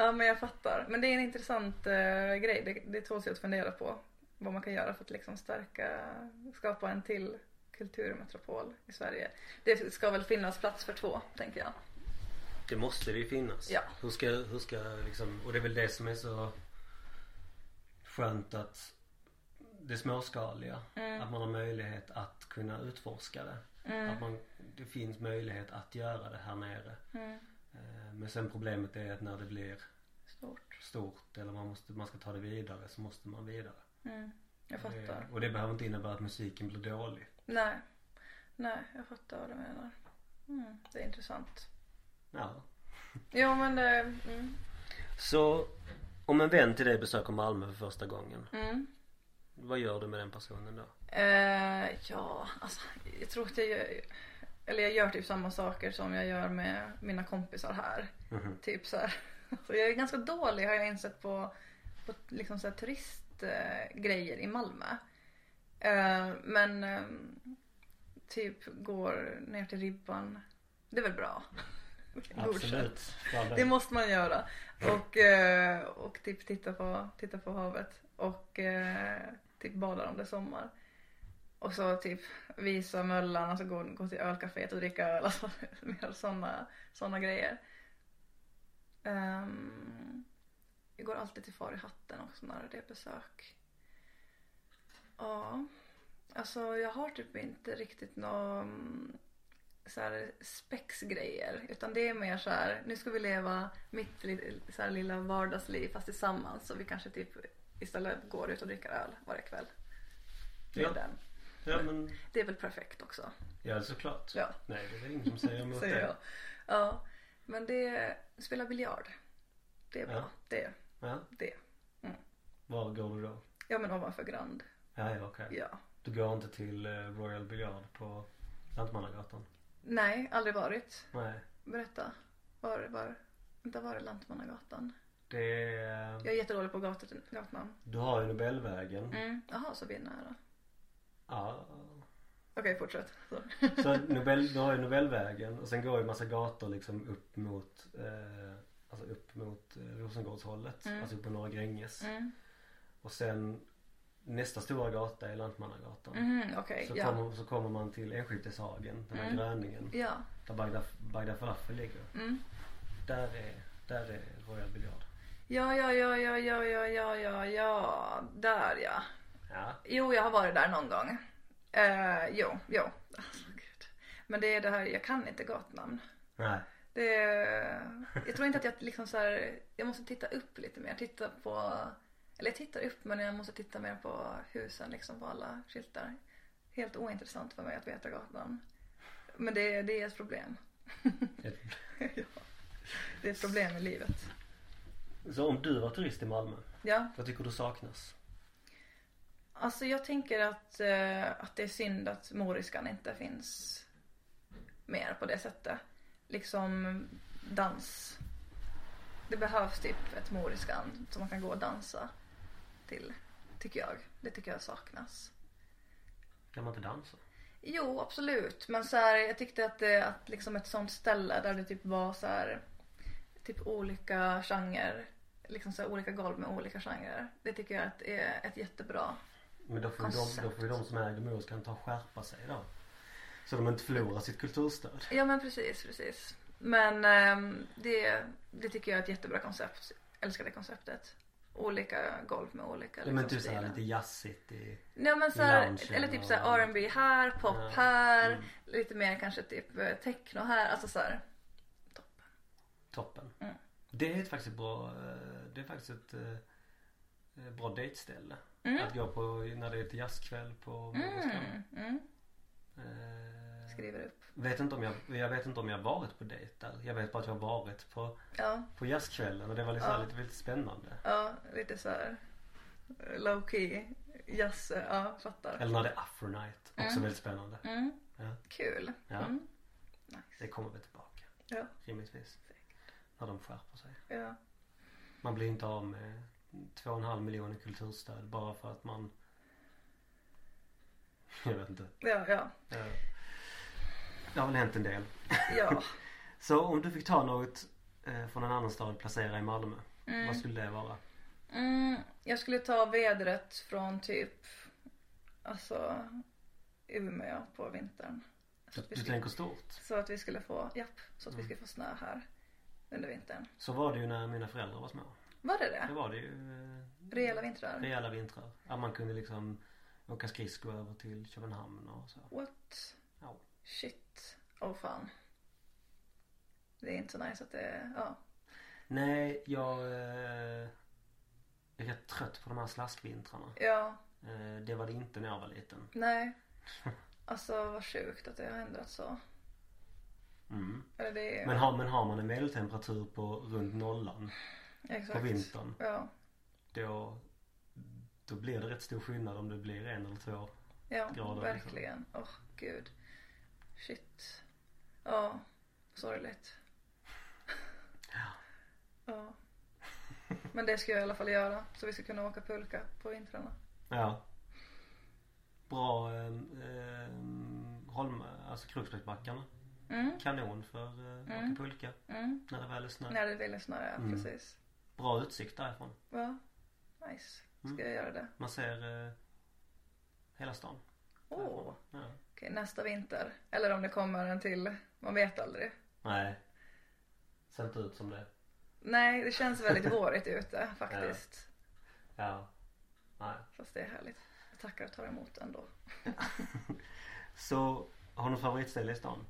Speaker 2: Ja, men jag fattar. Men det är en intressant eh, grej, det, det tål sig att fundera på. Vad man kan göra för att liksom stärka, skapa en till kulturmetropol i Sverige. Det ska väl finnas plats för två, tänker jag.
Speaker 1: Det måste det ju finnas.
Speaker 2: Ja.
Speaker 1: Hur ska, hur ska liksom, och det är väl det som är så skönt att det småskaliga.
Speaker 2: Mm.
Speaker 1: Att man har möjlighet att kunna utforska det. Att man, det finns möjlighet att göra det här nere.
Speaker 2: Mm.
Speaker 1: Eh, Men sen problemet är att när det blir
Speaker 2: Stort.
Speaker 1: stort eller man, måste, man ska ta det vidare så måste man vidare.
Speaker 2: Mm. Jag
Speaker 1: Det-
Speaker 2: fattar.
Speaker 1: Och det behöver inte innebära att musiken blir dålig.
Speaker 2: Nej. Nej, jag fattar vad du menar. Mm, det är intressant.
Speaker 1: Ja.
Speaker 2: Jo men det... Mm,
Speaker 1: Så om en vän till dig besöker Malmö för första gången,
Speaker 2: mm.
Speaker 1: vad gör du med den personen då?
Speaker 2: Eh, ja, alltså jag tror att jag gör... Eller jag gör typ samma saker som jag gör med mina kompisar här. Typ så här. <laughs> Alltså, jag är ganska dålig har jag insett på, på liksom så här turistgrejer i Malmö. Eh, men ehm, typ går ner till ribban. Det är väl bra? Godkänt.
Speaker 1: Bra
Speaker 2: Det
Speaker 1: där.
Speaker 2: måste man göra. Och, eh, och typ titta på, titta på havet. Och eh, typ bada om det är sommar. Och så typ visa möllan, alltså gå, gå till ölcaféet och dricka öl. <laughs> Alltså mer sådana såna grejer. Um, jag går alltid till far i hatten också när det är besök. Ja. Alltså jag har typ inte riktigt någon så här spexgrejer. Utan det är mer så här, nu ska vi leva mitt li- så här lilla vardagsliv fast tillsammans. Så vi kanske typ istället går ut och dricker öl varje kväll. Det är,
Speaker 1: Ja.
Speaker 2: den.
Speaker 1: Ja men,
Speaker 2: Det är väl perfekt också.
Speaker 1: ja såklart.
Speaker 2: Ja.
Speaker 1: Nej det är ingen som säger emot
Speaker 2: <laughs> Säger
Speaker 1: det.
Speaker 2: jag. Ja. Men det, spela biljard. Det är bra.
Speaker 1: Ja.
Speaker 2: Det,
Speaker 1: Ja.
Speaker 2: det. Mm.
Speaker 1: Var går du då?
Speaker 2: Ja men ovanför Grand.
Speaker 1: Ja, ja okej.
Speaker 2: Ja.
Speaker 1: Du går inte till eh, Royal Biljard på Lantmannagatan?
Speaker 2: Nej, aldrig varit.
Speaker 1: Nej.
Speaker 2: Berätta. Var, var, vänta, var är Lantmannagatan?
Speaker 1: Det är, eh,
Speaker 2: Jag är jättedålig på gator, gatnamn.
Speaker 1: du har ju Nobelvägen.
Speaker 2: Mm. Jaha, så vi är nära.
Speaker 1: Ja.
Speaker 2: Okej, fortsätt. Så.
Speaker 1: Så Nobel, du har ju Nobelvägen och sen går ju massa gator liksom upp mot eh, Alltså upp mot eh, Rosengårdshållet. Alltså upp på Norra Gränges.
Speaker 2: Mm.
Speaker 1: Och sen nästa stora gata är Lantmannagatan.
Speaker 2: Mm, Okej,
Speaker 1: Så,
Speaker 2: ja. Mm.
Speaker 1: kommer, så kommer man till Enskilteshagen, den här gröningen.
Speaker 2: Ja.
Speaker 1: Där Bagda, Bagda Falafel ligger.
Speaker 2: Mm.
Speaker 1: Där är, där är Royal Biljard.
Speaker 2: Ja, ja, ja, ja, ja, ja, ja, ja, ja. Där ja.
Speaker 1: Ja.
Speaker 2: Jo, jag har varit där någon gång. Eh, jo, jo. Alltså, gud. Men det är det här, jag kan inte gatnamn.
Speaker 1: Nej.
Speaker 2: Det är, jag tror inte att jag liksom så här, jag måste titta upp lite mer. Titta på, eller jag tittar upp men jag måste titta mer på husen liksom på alla skyltar. Helt ointressant <laughs> för mig att veta gatan. Men det, det är ett problem.
Speaker 1: Ett-
Speaker 2: ja. Det är ett problem i livet.
Speaker 1: Så om du var turist i Malmö,
Speaker 2: Ja,
Speaker 1: vad tycker du saknas?
Speaker 2: alltså jag tänker att, eh, att det är synd att moriskan inte finns mer på det sättet. Liksom dans. Det behövs typ ett moriskan som man kan gå och dansa till, tycker jag. Det tycker jag saknas.
Speaker 1: Kan man inte dansa?
Speaker 2: Jo, absolut. Men så här, jag tyckte att, det, att liksom ett sånt ställe där det typ var så här, typ olika genrer. Liksom så här, olika golv med olika genrer. Det tycker jag att är ett jättebra.
Speaker 1: Men då får, ju de, då får ju de som äger Morskan ta och skärpa sig då. Så de inte förlorar sitt kulturstöd.
Speaker 2: Ja men precis, precis. Men ehm, det, det tycker jag är ett jättebra koncept. Älskar det konceptet. Olika golv med olika
Speaker 1: Ja,
Speaker 2: liksom,
Speaker 1: men typ såhär
Speaker 2: stilar.
Speaker 1: lite jazzigt i...
Speaker 2: Nej men så här,
Speaker 1: Lounge
Speaker 2: eller typ så här
Speaker 1: eller-
Speaker 2: R&B här, pop
Speaker 1: Ja.
Speaker 2: här,
Speaker 1: Mm.
Speaker 2: lite mer kanske typ eh, techno här. Alltså så här.
Speaker 1: Toppen.
Speaker 2: Mm.
Speaker 1: Det är ett faktiskt ett bra, eh, det är faktiskt ett eh, bra dejtställe.
Speaker 2: Mm.
Speaker 1: Att gå på när det är ett jazzkväll på Morskan.
Speaker 2: Mm. Mm.
Speaker 1: Eh,
Speaker 2: Skriver upp.
Speaker 1: vet inte om jag, jag vet inte om jag varit på dejt där. Jag vet bara att jag har varit på,
Speaker 2: Ja.
Speaker 1: på jazzkvällen och det var liksom
Speaker 2: Ja.
Speaker 1: lite, lite spännande.
Speaker 2: Ja, lite så här low key. Jazz, eh, ja fattar.
Speaker 1: Eller när det är afro night. Också
Speaker 2: Mm.
Speaker 1: väldigt spännande.
Speaker 2: Mm.
Speaker 1: Ja.
Speaker 2: Kul.
Speaker 1: Ja.
Speaker 2: Mm.
Speaker 1: Det
Speaker 2: Nice.
Speaker 1: kommer väl tillbaka.
Speaker 2: Ja.
Speaker 1: Rimligtvis. När de skärper sig.
Speaker 2: Ja.
Speaker 1: Man blir inte av med två och en halv miljon i kulturstöd bara för att man Jag vet inte.
Speaker 2: Ja, ja.
Speaker 1: Eh, Det har väl hänt en del.
Speaker 2: ja.
Speaker 1: Så om du fick ta något eh, från en annan stad och placera i Malmö. <laughs> Vad
Speaker 2: Mm.
Speaker 1: skulle det vara?
Speaker 2: Mm. Jag skulle ta vädret från typ alltså Umeå på vintern. Så
Speaker 1: Du,
Speaker 2: att vi
Speaker 1: du
Speaker 2: skulle,
Speaker 1: tänker stort.
Speaker 2: så att vi skulle få, japp, så att vi
Speaker 1: Mm.
Speaker 2: skulle få snö här under vintern.
Speaker 1: Så var det ju när mina föräldrar var små.
Speaker 2: Var det
Speaker 1: Det
Speaker 2: det?
Speaker 1: var det ju eh,
Speaker 2: Rejäla vintrar?
Speaker 1: rejäla vintrar. Att man kunde liksom åka skridskor över till Köpenhamn och så.
Speaker 2: What?
Speaker 1: Ja.
Speaker 2: Shit. Åh fan. Det är inte så nice att det, ja.
Speaker 1: Nej, jag... Eh, jag är rätt trött på de här slaskvintrarna.
Speaker 2: Ja,
Speaker 1: Eh, det var det inte när jag var liten. <laughs>
Speaker 2: nej. Alltså vad sjukt att det har ändrat så.
Speaker 1: Mm.
Speaker 2: Eller det är
Speaker 1: Men, har, men har man en medeltemperatur på runt nollan på
Speaker 2: exakt.
Speaker 1: vintern
Speaker 2: Ja,
Speaker 1: då, då blir det rätt stor skillnad om det blir en eller två.
Speaker 2: ja
Speaker 1: grader, liksom.
Speaker 2: verkligen. Åh gud. Shit. Ja, sorgligt.
Speaker 1: Ja.
Speaker 2: <laughs> Ja. Men det ska jag i alla fall göra så vi ska kunna åka pulka på vintrarna.
Speaker 1: Ja. Bra eh, eh, Holm, alltså Kruksbergsbackarna.
Speaker 2: Mm,
Speaker 1: Kanon för eh,
Speaker 2: Mm.
Speaker 1: åka pulka
Speaker 2: mm.
Speaker 1: när det väl är snö.
Speaker 2: När det vill snöa,
Speaker 1: Mm.
Speaker 2: precis.
Speaker 1: Bra utsikt därifrån.
Speaker 2: Ja, nice. Ska
Speaker 1: Mm.
Speaker 2: jag göra det?
Speaker 1: Man ser eh, hela stan.
Speaker 2: Åh.
Speaker 1: därifrån. Ja.
Speaker 2: Okej, nästa vinter. Eller om det kommer en till. Man vet aldrig.
Speaker 1: Nej. Ser inte ut som det.
Speaker 2: Nej, det känns
Speaker 1: <laughs>
Speaker 2: väldigt vårigt ute faktiskt.
Speaker 1: Ja. Nej.
Speaker 2: Fast det är härligt. Jag tackar och tar emot ändå.
Speaker 1: Så har du något favoritställe i stan?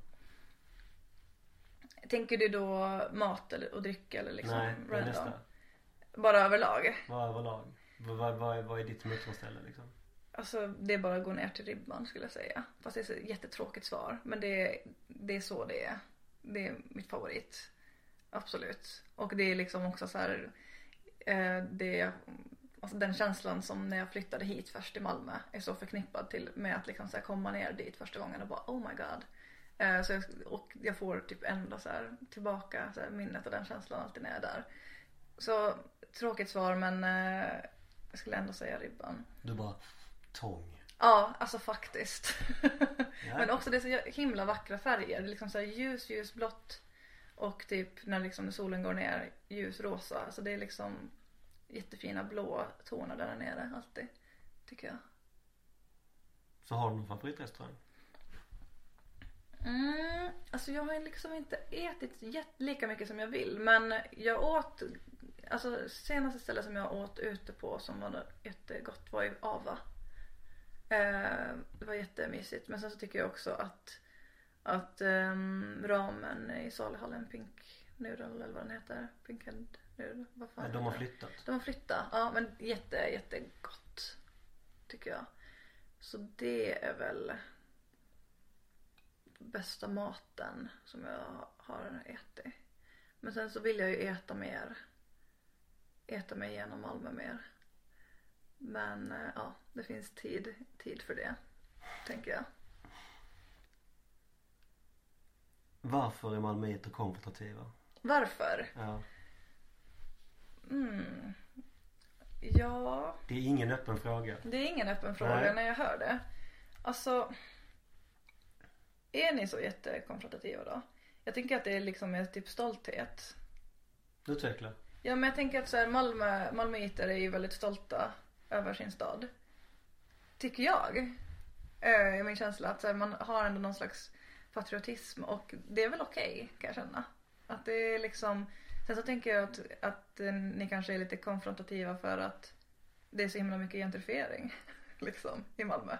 Speaker 2: Tänker du då mat eller, och dryck eller liksom
Speaker 1: Nej, vad är nästa?
Speaker 2: Bara överlag?
Speaker 1: Vad överlag? Vad, vad, vad, är, vad är ditt motståndsställe liksom?
Speaker 2: Alltså det är bara att gå ner till ribban skulle jag säga. Fast det är ett jättetråkigt svar. Men det är, det är så det är. Det är mitt favorit. Absolut. Och det är liksom också så här. Eh, det, alltså den känslan som när jag flyttade hit först till Malmö är så förknippad till med att liksom så här komma ner dit första gången och bara oh my god. Eh, så jag, och jag får typ ändå så här tillbaka så här minnet och den känslan alltid när jag är där. Så tråkigt svar men eh, jag skulle ändå säga ribban.
Speaker 1: Du bara, tång.
Speaker 2: Ja, alltså faktiskt. <laughs>
Speaker 1: Ja.
Speaker 2: Men också det är så himla vackra färger. Det är liksom så här ljus, ljusblått och typ när liksom solen går ner ljusrosa. Alltså det är liksom jättefina blå toner där nere alltid. Tycker jag.
Speaker 1: Så har du någon favoritrestaurang?
Speaker 2: Mm, alltså jag har liksom inte ätit jätt- lika mycket som jag vill men jag åt, alltså senaste stället som jag åt ute på som var jättegott var i Ava. Eh, det var jättemysigt men sen så tycker jag också att, att ehm, ramen i saluhallen Pink Noodle eller vad den heter, Pink and Noodle, vad fan
Speaker 1: Nej,
Speaker 2: heter
Speaker 1: de har
Speaker 2: den?
Speaker 1: flyttat.
Speaker 2: De har flyttat. Ja men jätte, jättegott. Tycker jag. Så det är väl bästa maten som jag har ätit. Men sen så ville jag ju äta mer. Äta mig igenom Malmö mer. Men eh, ja, det finns tid, tid för det. Tänker jag.
Speaker 1: Varför är malmöiter konfrontativa?
Speaker 2: Varför?
Speaker 1: Ja.
Speaker 2: Mm. Ja,
Speaker 1: Det är ingen öppen fråga.
Speaker 2: det är ingen öppen fråga
Speaker 1: Nej.
Speaker 2: när jag hör det. Alltså, är ni så jättekonfrontativa då? Jag tänker att det är liksom en typ stolthet.
Speaker 1: Utveckla.
Speaker 2: Ja men jag tänker att så här, Malmö, Malmöiter är ju väldigt stolta över sin stad. Tycker jag. Eh, min känsla att så här, man har ändå någon slags patriotism och det är väl okej kan jag känna. Att det är liksom, sen så tänker jag att, att eh, ni kanske är lite konfrontativa för att det är så himla mycket gentrifiering <laughs> liksom i Malmö.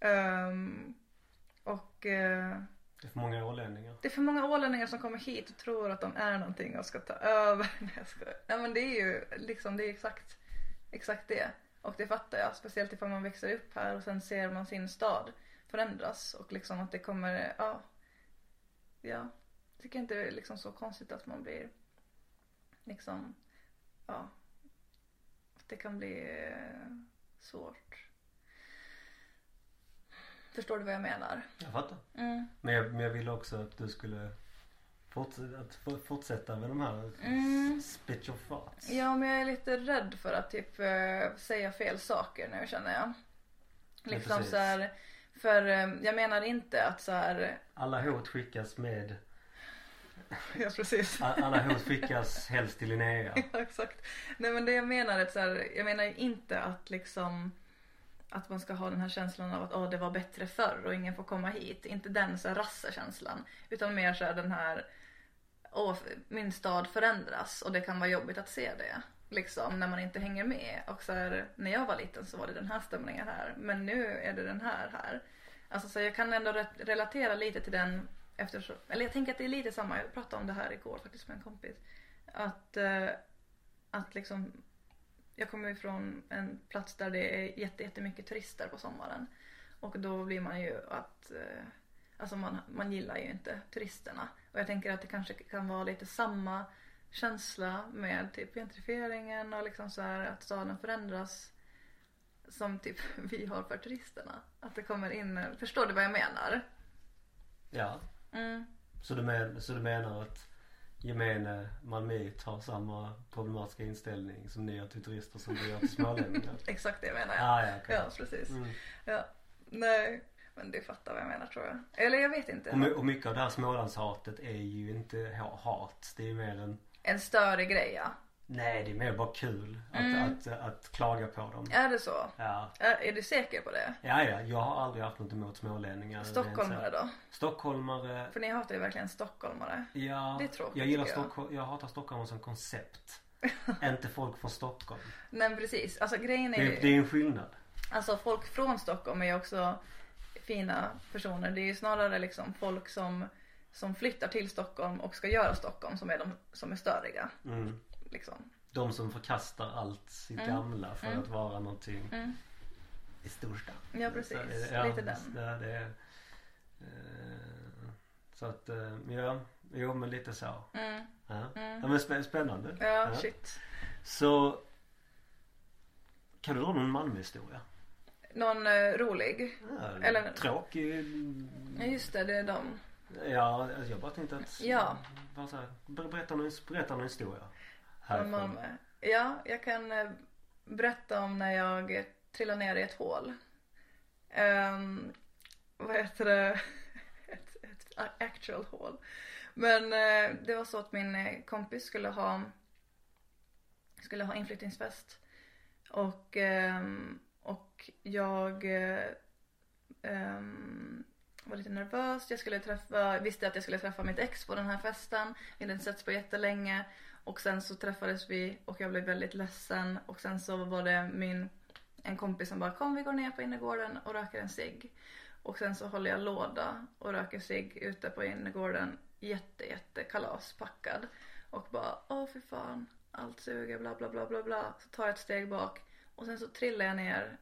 Speaker 2: Ehm, och eh,
Speaker 1: Det är för många ålänningar.
Speaker 2: det är för många ålänningar som kommer hit och tror att de är någonting och ska ta över. <laughs> Nej, jag skojar. Nej men det är ju liksom, det är exakt, exakt det. Och det fattar jag, speciellt ifall man växer upp här och sen ser man sin stad förändras och liksom att det kommer, ja. Ja. Jag tycker inte det är liksom så konstigt att man blir liksom, ja. Att det kan bli eh, svårt. Förstår du vad jag menar?
Speaker 1: Jag fattar.
Speaker 2: Mm.
Speaker 1: Men jag, men jag ville också att du skulle forts- att få- fortsätta med de här
Speaker 2: Mm.
Speaker 1: spit your thoughts.
Speaker 2: Ja, men jag är lite rädd för att typ eh, säga fel saker nu känner jag.
Speaker 1: Ja,
Speaker 2: Liksom
Speaker 1: precis.
Speaker 2: så här, för eh, jag menar inte att så här,
Speaker 1: Alla hot skickas med
Speaker 2: ja precis.
Speaker 1: a- Alla hot skickas helst till
Speaker 2: <laughs>
Speaker 1: Linnea.
Speaker 2: Ja, exakt. Nej men det jag menar är att så här, jag menar ju inte att liksom att man ska ha den här känslan av att åh det var bättre förr och ingen får komma hit. Inte den så här rassekänslan. Utan mer så här den här åh min stad förändras och det kan vara jobbigt att se det. Liksom när man inte hänger med. Och så här, när jag var liten så var det den här stämningen här men nu är det den här här. Alltså så jag kan ändå re- relatera lite till den eftersom, eller jag tänker att det är lite samma, jag pratade om det här igår faktiskt med en kompis. Att, eh, att liksom, jag kommer ju från en plats där det är jätte, jättemycket turister på sommaren. Och då blir man ju att, eh, alltså man, man gillar ju inte turisterna. Och jag tänker att det kanske kan vara lite samma känsla med typ gentrifieringen och liksom så här att staden förändras som typ <laughs> vi har för turisterna. Att det kommer in, förstår du vad jag menar?
Speaker 1: Ja.
Speaker 2: Mm.
Speaker 1: Så du, men, så du menar att gemene malmöit har samma problematiska inställning som ni har till turister som vi har till
Speaker 2: <laughs>
Speaker 1: smålänningar?
Speaker 2: Exakt det menar jag.
Speaker 1: ah, ja, okej.
Speaker 2: Ja, precis.
Speaker 1: Mm.
Speaker 2: Ja. Nej, men du fattar vad jag menar tror jag. Eller jag vet inte.
Speaker 1: Och, my- och mycket av det här smålandshatet är ju inte ha- hat. Det är ju mer en
Speaker 2: En större grej ja.
Speaker 1: Nej det är mer bara kul att,
Speaker 2: Mm.
Speaker 1: att, att, klaga på dem.
Speaker 2: Är det så?
Speaker 1: Ja.
Speaker 2: Är, är du säker på det?
Speaker 1: ja, ja, jag har aldrig haft något emot smålänningar.
Speaker 2: Stockholmare
Speaker 1: Rent så-
Speaker 2: då?
Speaker 1: Stockholmare.
Speaker 2: För ni hatar ju verkligen stockholmare.
Speaker 1: Ja,
Speaker 2: Det är tråkigt,
Speaker 1: jag gillar
Speaker 2: tycker jag.
Speaker 1: Stockholm, jag hatar Stockholm som
Speaker 2: <laughs>
Speaker 1: koncept. inte folk från Stockholm.
Speaker 2: Men precis, alltså grejen är
Speaker 1: Det,
Speaker 2: ju,
Speaker 1: det är en skillnad.
Speaker 2: alltså folk från Stockholm är ju också fina personer. Det är ju snarare liksom folk som, som flyttar till Stockholm och ska göra Stockholm som är de som är störiga.
Speaker 1: Mm.
Speaker 2: Liksom.
Speaker 1: De som förkastar allt sitt
Speaker 2: Mm.
Speaker 1: gamla för att vara någonting i storstan.
Speaker 2: Ja, precis. Lite den.
Speaker 1: Det, det är, eh, så att, eh, ja, jo men lite så.
Speaker 2: Mm,
Speaker 1: Ja. ja men spä- spännande.
Speaker 2: ja, shit.
Speaker 1: Så kan du dra någon Malmöhistoria?
Speaker 2: Någon eh, rolig?
Speaker 1: Ja,
Speaker 2: Eller-
Speaker 1: Tråkig?
Speaker 2: Ja just det, det är de.
Speaker 1: Ja, alltså, jag bara tänkte att...
Speaker 2: Ja.
Speaker 1: Bara så här, ber- berätta, någon, berätta någon historia.
Speaker 2: Från
Speaker 1: Härifrån.
Speaker 2: Malmö. Ja, jag kan eh, berätta om när jag eh, trillade ner i ett hål. Ehm, vad heter det? <laughs> Ett, ett a- actual hål. Men eh, det var så att min eh, kompis skulle ha skulle ha inflyttningsfest. Och, ehm, och jag eh, ehm, var lite nervös. Jag skulle träffa, visste att jag skulle träffa mitt ex på den här festen. Vi hade inte setts på jättelänge. Och sen så träffades vi och jag blev väldigt ledsen. Och sen så var det min, en kompis som bara kom vi går ner på innergården och röker en cigg. Och sen så håller jag låda och röker cigg ute på innergården. Jätte jätte kalaspackad. Och bara åh fy fan allt suger bla bla bla bla bla. Så tar jag ett steg bak och sen så trillar jag ner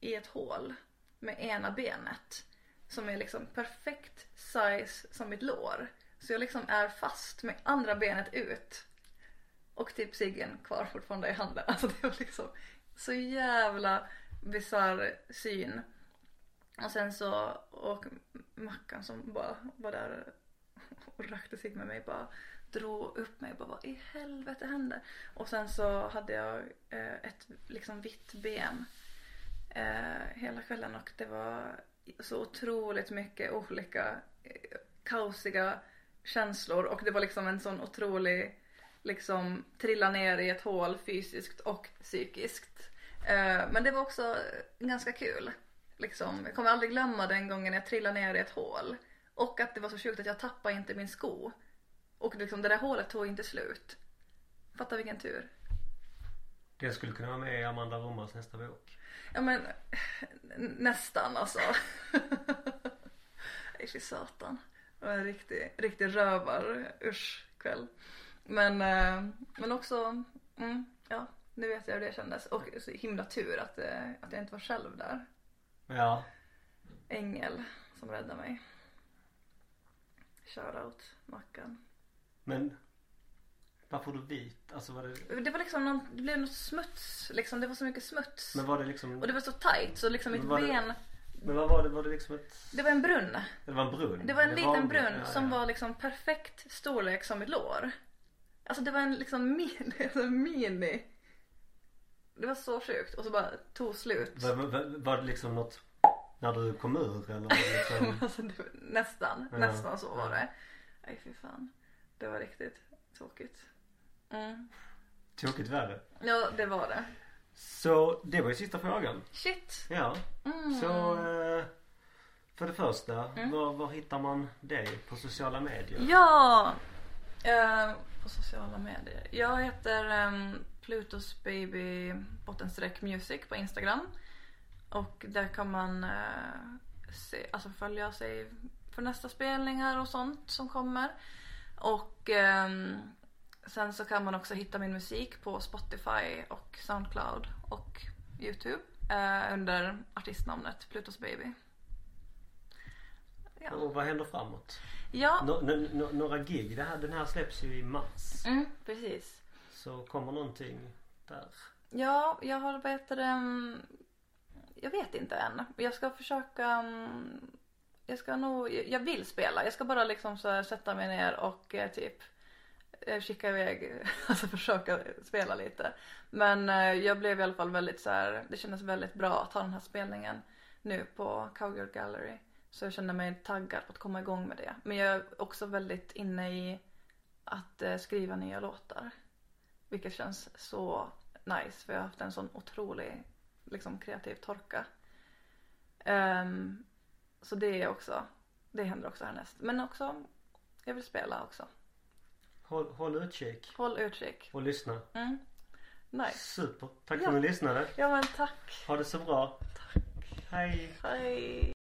Speaker 2: i ett hål med ena benet. Som är liksom perfekt size som mitt lår. Så jag liksom är fast med andra benet ut. Och typ ciggen kvar fortfarande i handen. <laughs> Alltså det var liksom så jävla bisarr syn. Och sen så, och Mackan som bara var där och rökte cigg med mig bara drog upp mig och bara vad i helvete hände? Och sen så hade jag eh, ett liksom vitt ben eh, hela kvällen och det var så otroligt mycket olika eh, kaosiga känslor och det var liksom en sån otrolig liksom trilla ner i ett hål fysiskt och psykiskt. Eh, men det var också ganska kul. Liksom, jag kommer aldrig glömma den gången jag trillade ner i ett hål och att det var så sjukt att jag tappade inte min sko. Och liksom det där hålet tog inte slut. Fatta vilken tur.
Speaker 1: Det skulle kunna vara med i Amanda Romars nästa bok.
Speaker 2: Ja men nästan alltså. <laughs> Isch i satan. Det var en riktig, riktig rövar usch kväll. Men, eh, men också, mm, ja nu vet jag hur det kändes. Och så himla tur att, eh, att jag inte var själv där.
Speaker 1: Ja.
Speaker 2: Ängel som räddade mig. Shoutout Mackan.
Speaker 1: Men varför du vit? Alltså var det...
Speaker 2: Det var liksom någon, det blev något smuts liksom. Det var så mycket smuts.
Speaker 1: Men var det liksom...
Speaker 2: Och det var så tight så liksom mitt
Speaker 1: Men var det-
Speaker 2: ben.
Speaker 1: Men vad var det? Var det liksom ett...
Speaker 2: Det var en brunn.
Speaker 1: Det var en brunn?
Speaker 2: Det var en liten
Speaker 1: en
Speaker 2: brunn
Speaker 1: ja,
Speaker 2: som
Speaker 1: ja.
Speaker 2: var liksom perfekt storlek som ett lår. Alltså det var en liksom mini, <laughs> en mini. Det var så sjukt och så bara tog slut. <laughs>
Speaker 1: Var, var, var det liksom något när du kom ur eller var det liksom...
Speaker 2: <laughs> Alltså, det var nästan,
Speaker 1: Ja,
Speaker 2: nästan så var
Speaker 1: ja.
Speaker 2: det. Nej fy fan. Det var riktigt tråkigt. Mm.
Speaker 1: Tokigt värre.
Speaker 2: Ja det var det.
Speaker 1: Så det var ju sista frågan.
Speaker 2: Shit.
Speaker 1: Ja.
Speaker 2: Mm.
Speaker 1: Så eh, för det första, var, var hittar man dig på sociala medier?
Speaker 2: Ja! Eh, på sociala medier. Jag heter ehm, Plutos baby bottenstreck music på Instagram. Och där kan man eh, se, alltså följa sig för nästa spelningar och sånt som kommer. Och ehm, sen så kan man också hitta min musik på Spotify och Soundcloud och Youtube eh, under artistnamnet Plutos baby. Ja,
Speaker 1: Och vad händer framåt?
Speaker 2: ja
Speaker 1: Nå- nå- nå- några gig? Det här, den här släpps ju i mars.
Speaker 2: mm, precis.
Speaker 1: Så kommer någonting där?
Speaker 2: Ja, jag har vad heter det, mm, Jag vet inte än. Jag ska försöka... mm, Jag ska nog... Jag vill spela. Jag ska bara liksom så här sätta mig ner och eh, typ eh, skicka iväg, <laughs> alltså försöka spela lite. Men eh, jag blev i alla fall väldigt så här, det kändes väldigt bra att ha den här spelningen nu på Cowgirl Gallery. Så jag känner mig taggad på att komma igång med det. Men jag är också väldigt inne i att eh, skriva nya låtar. Vilket känns så nice för jag har haft en sån otrolig liksom, kreativ torka. Ehm, så det är också, det händer också härnäst. Men också, jag vill spela också.
Speaker 1: Håll, håll utkik
Speaker 2: Håll utkik.
Speaker 1: och lyssna.
Speaker 2: Mm. Nice.
Speaker 1: Super. Tack för
Speaker 2: Ja.
Speaker 1: att ni lyssnade.
Speaker 2: Ja men tack.
Speaker 1: Ha det så bra. Tack. Hej.
Speaker 2: Hej.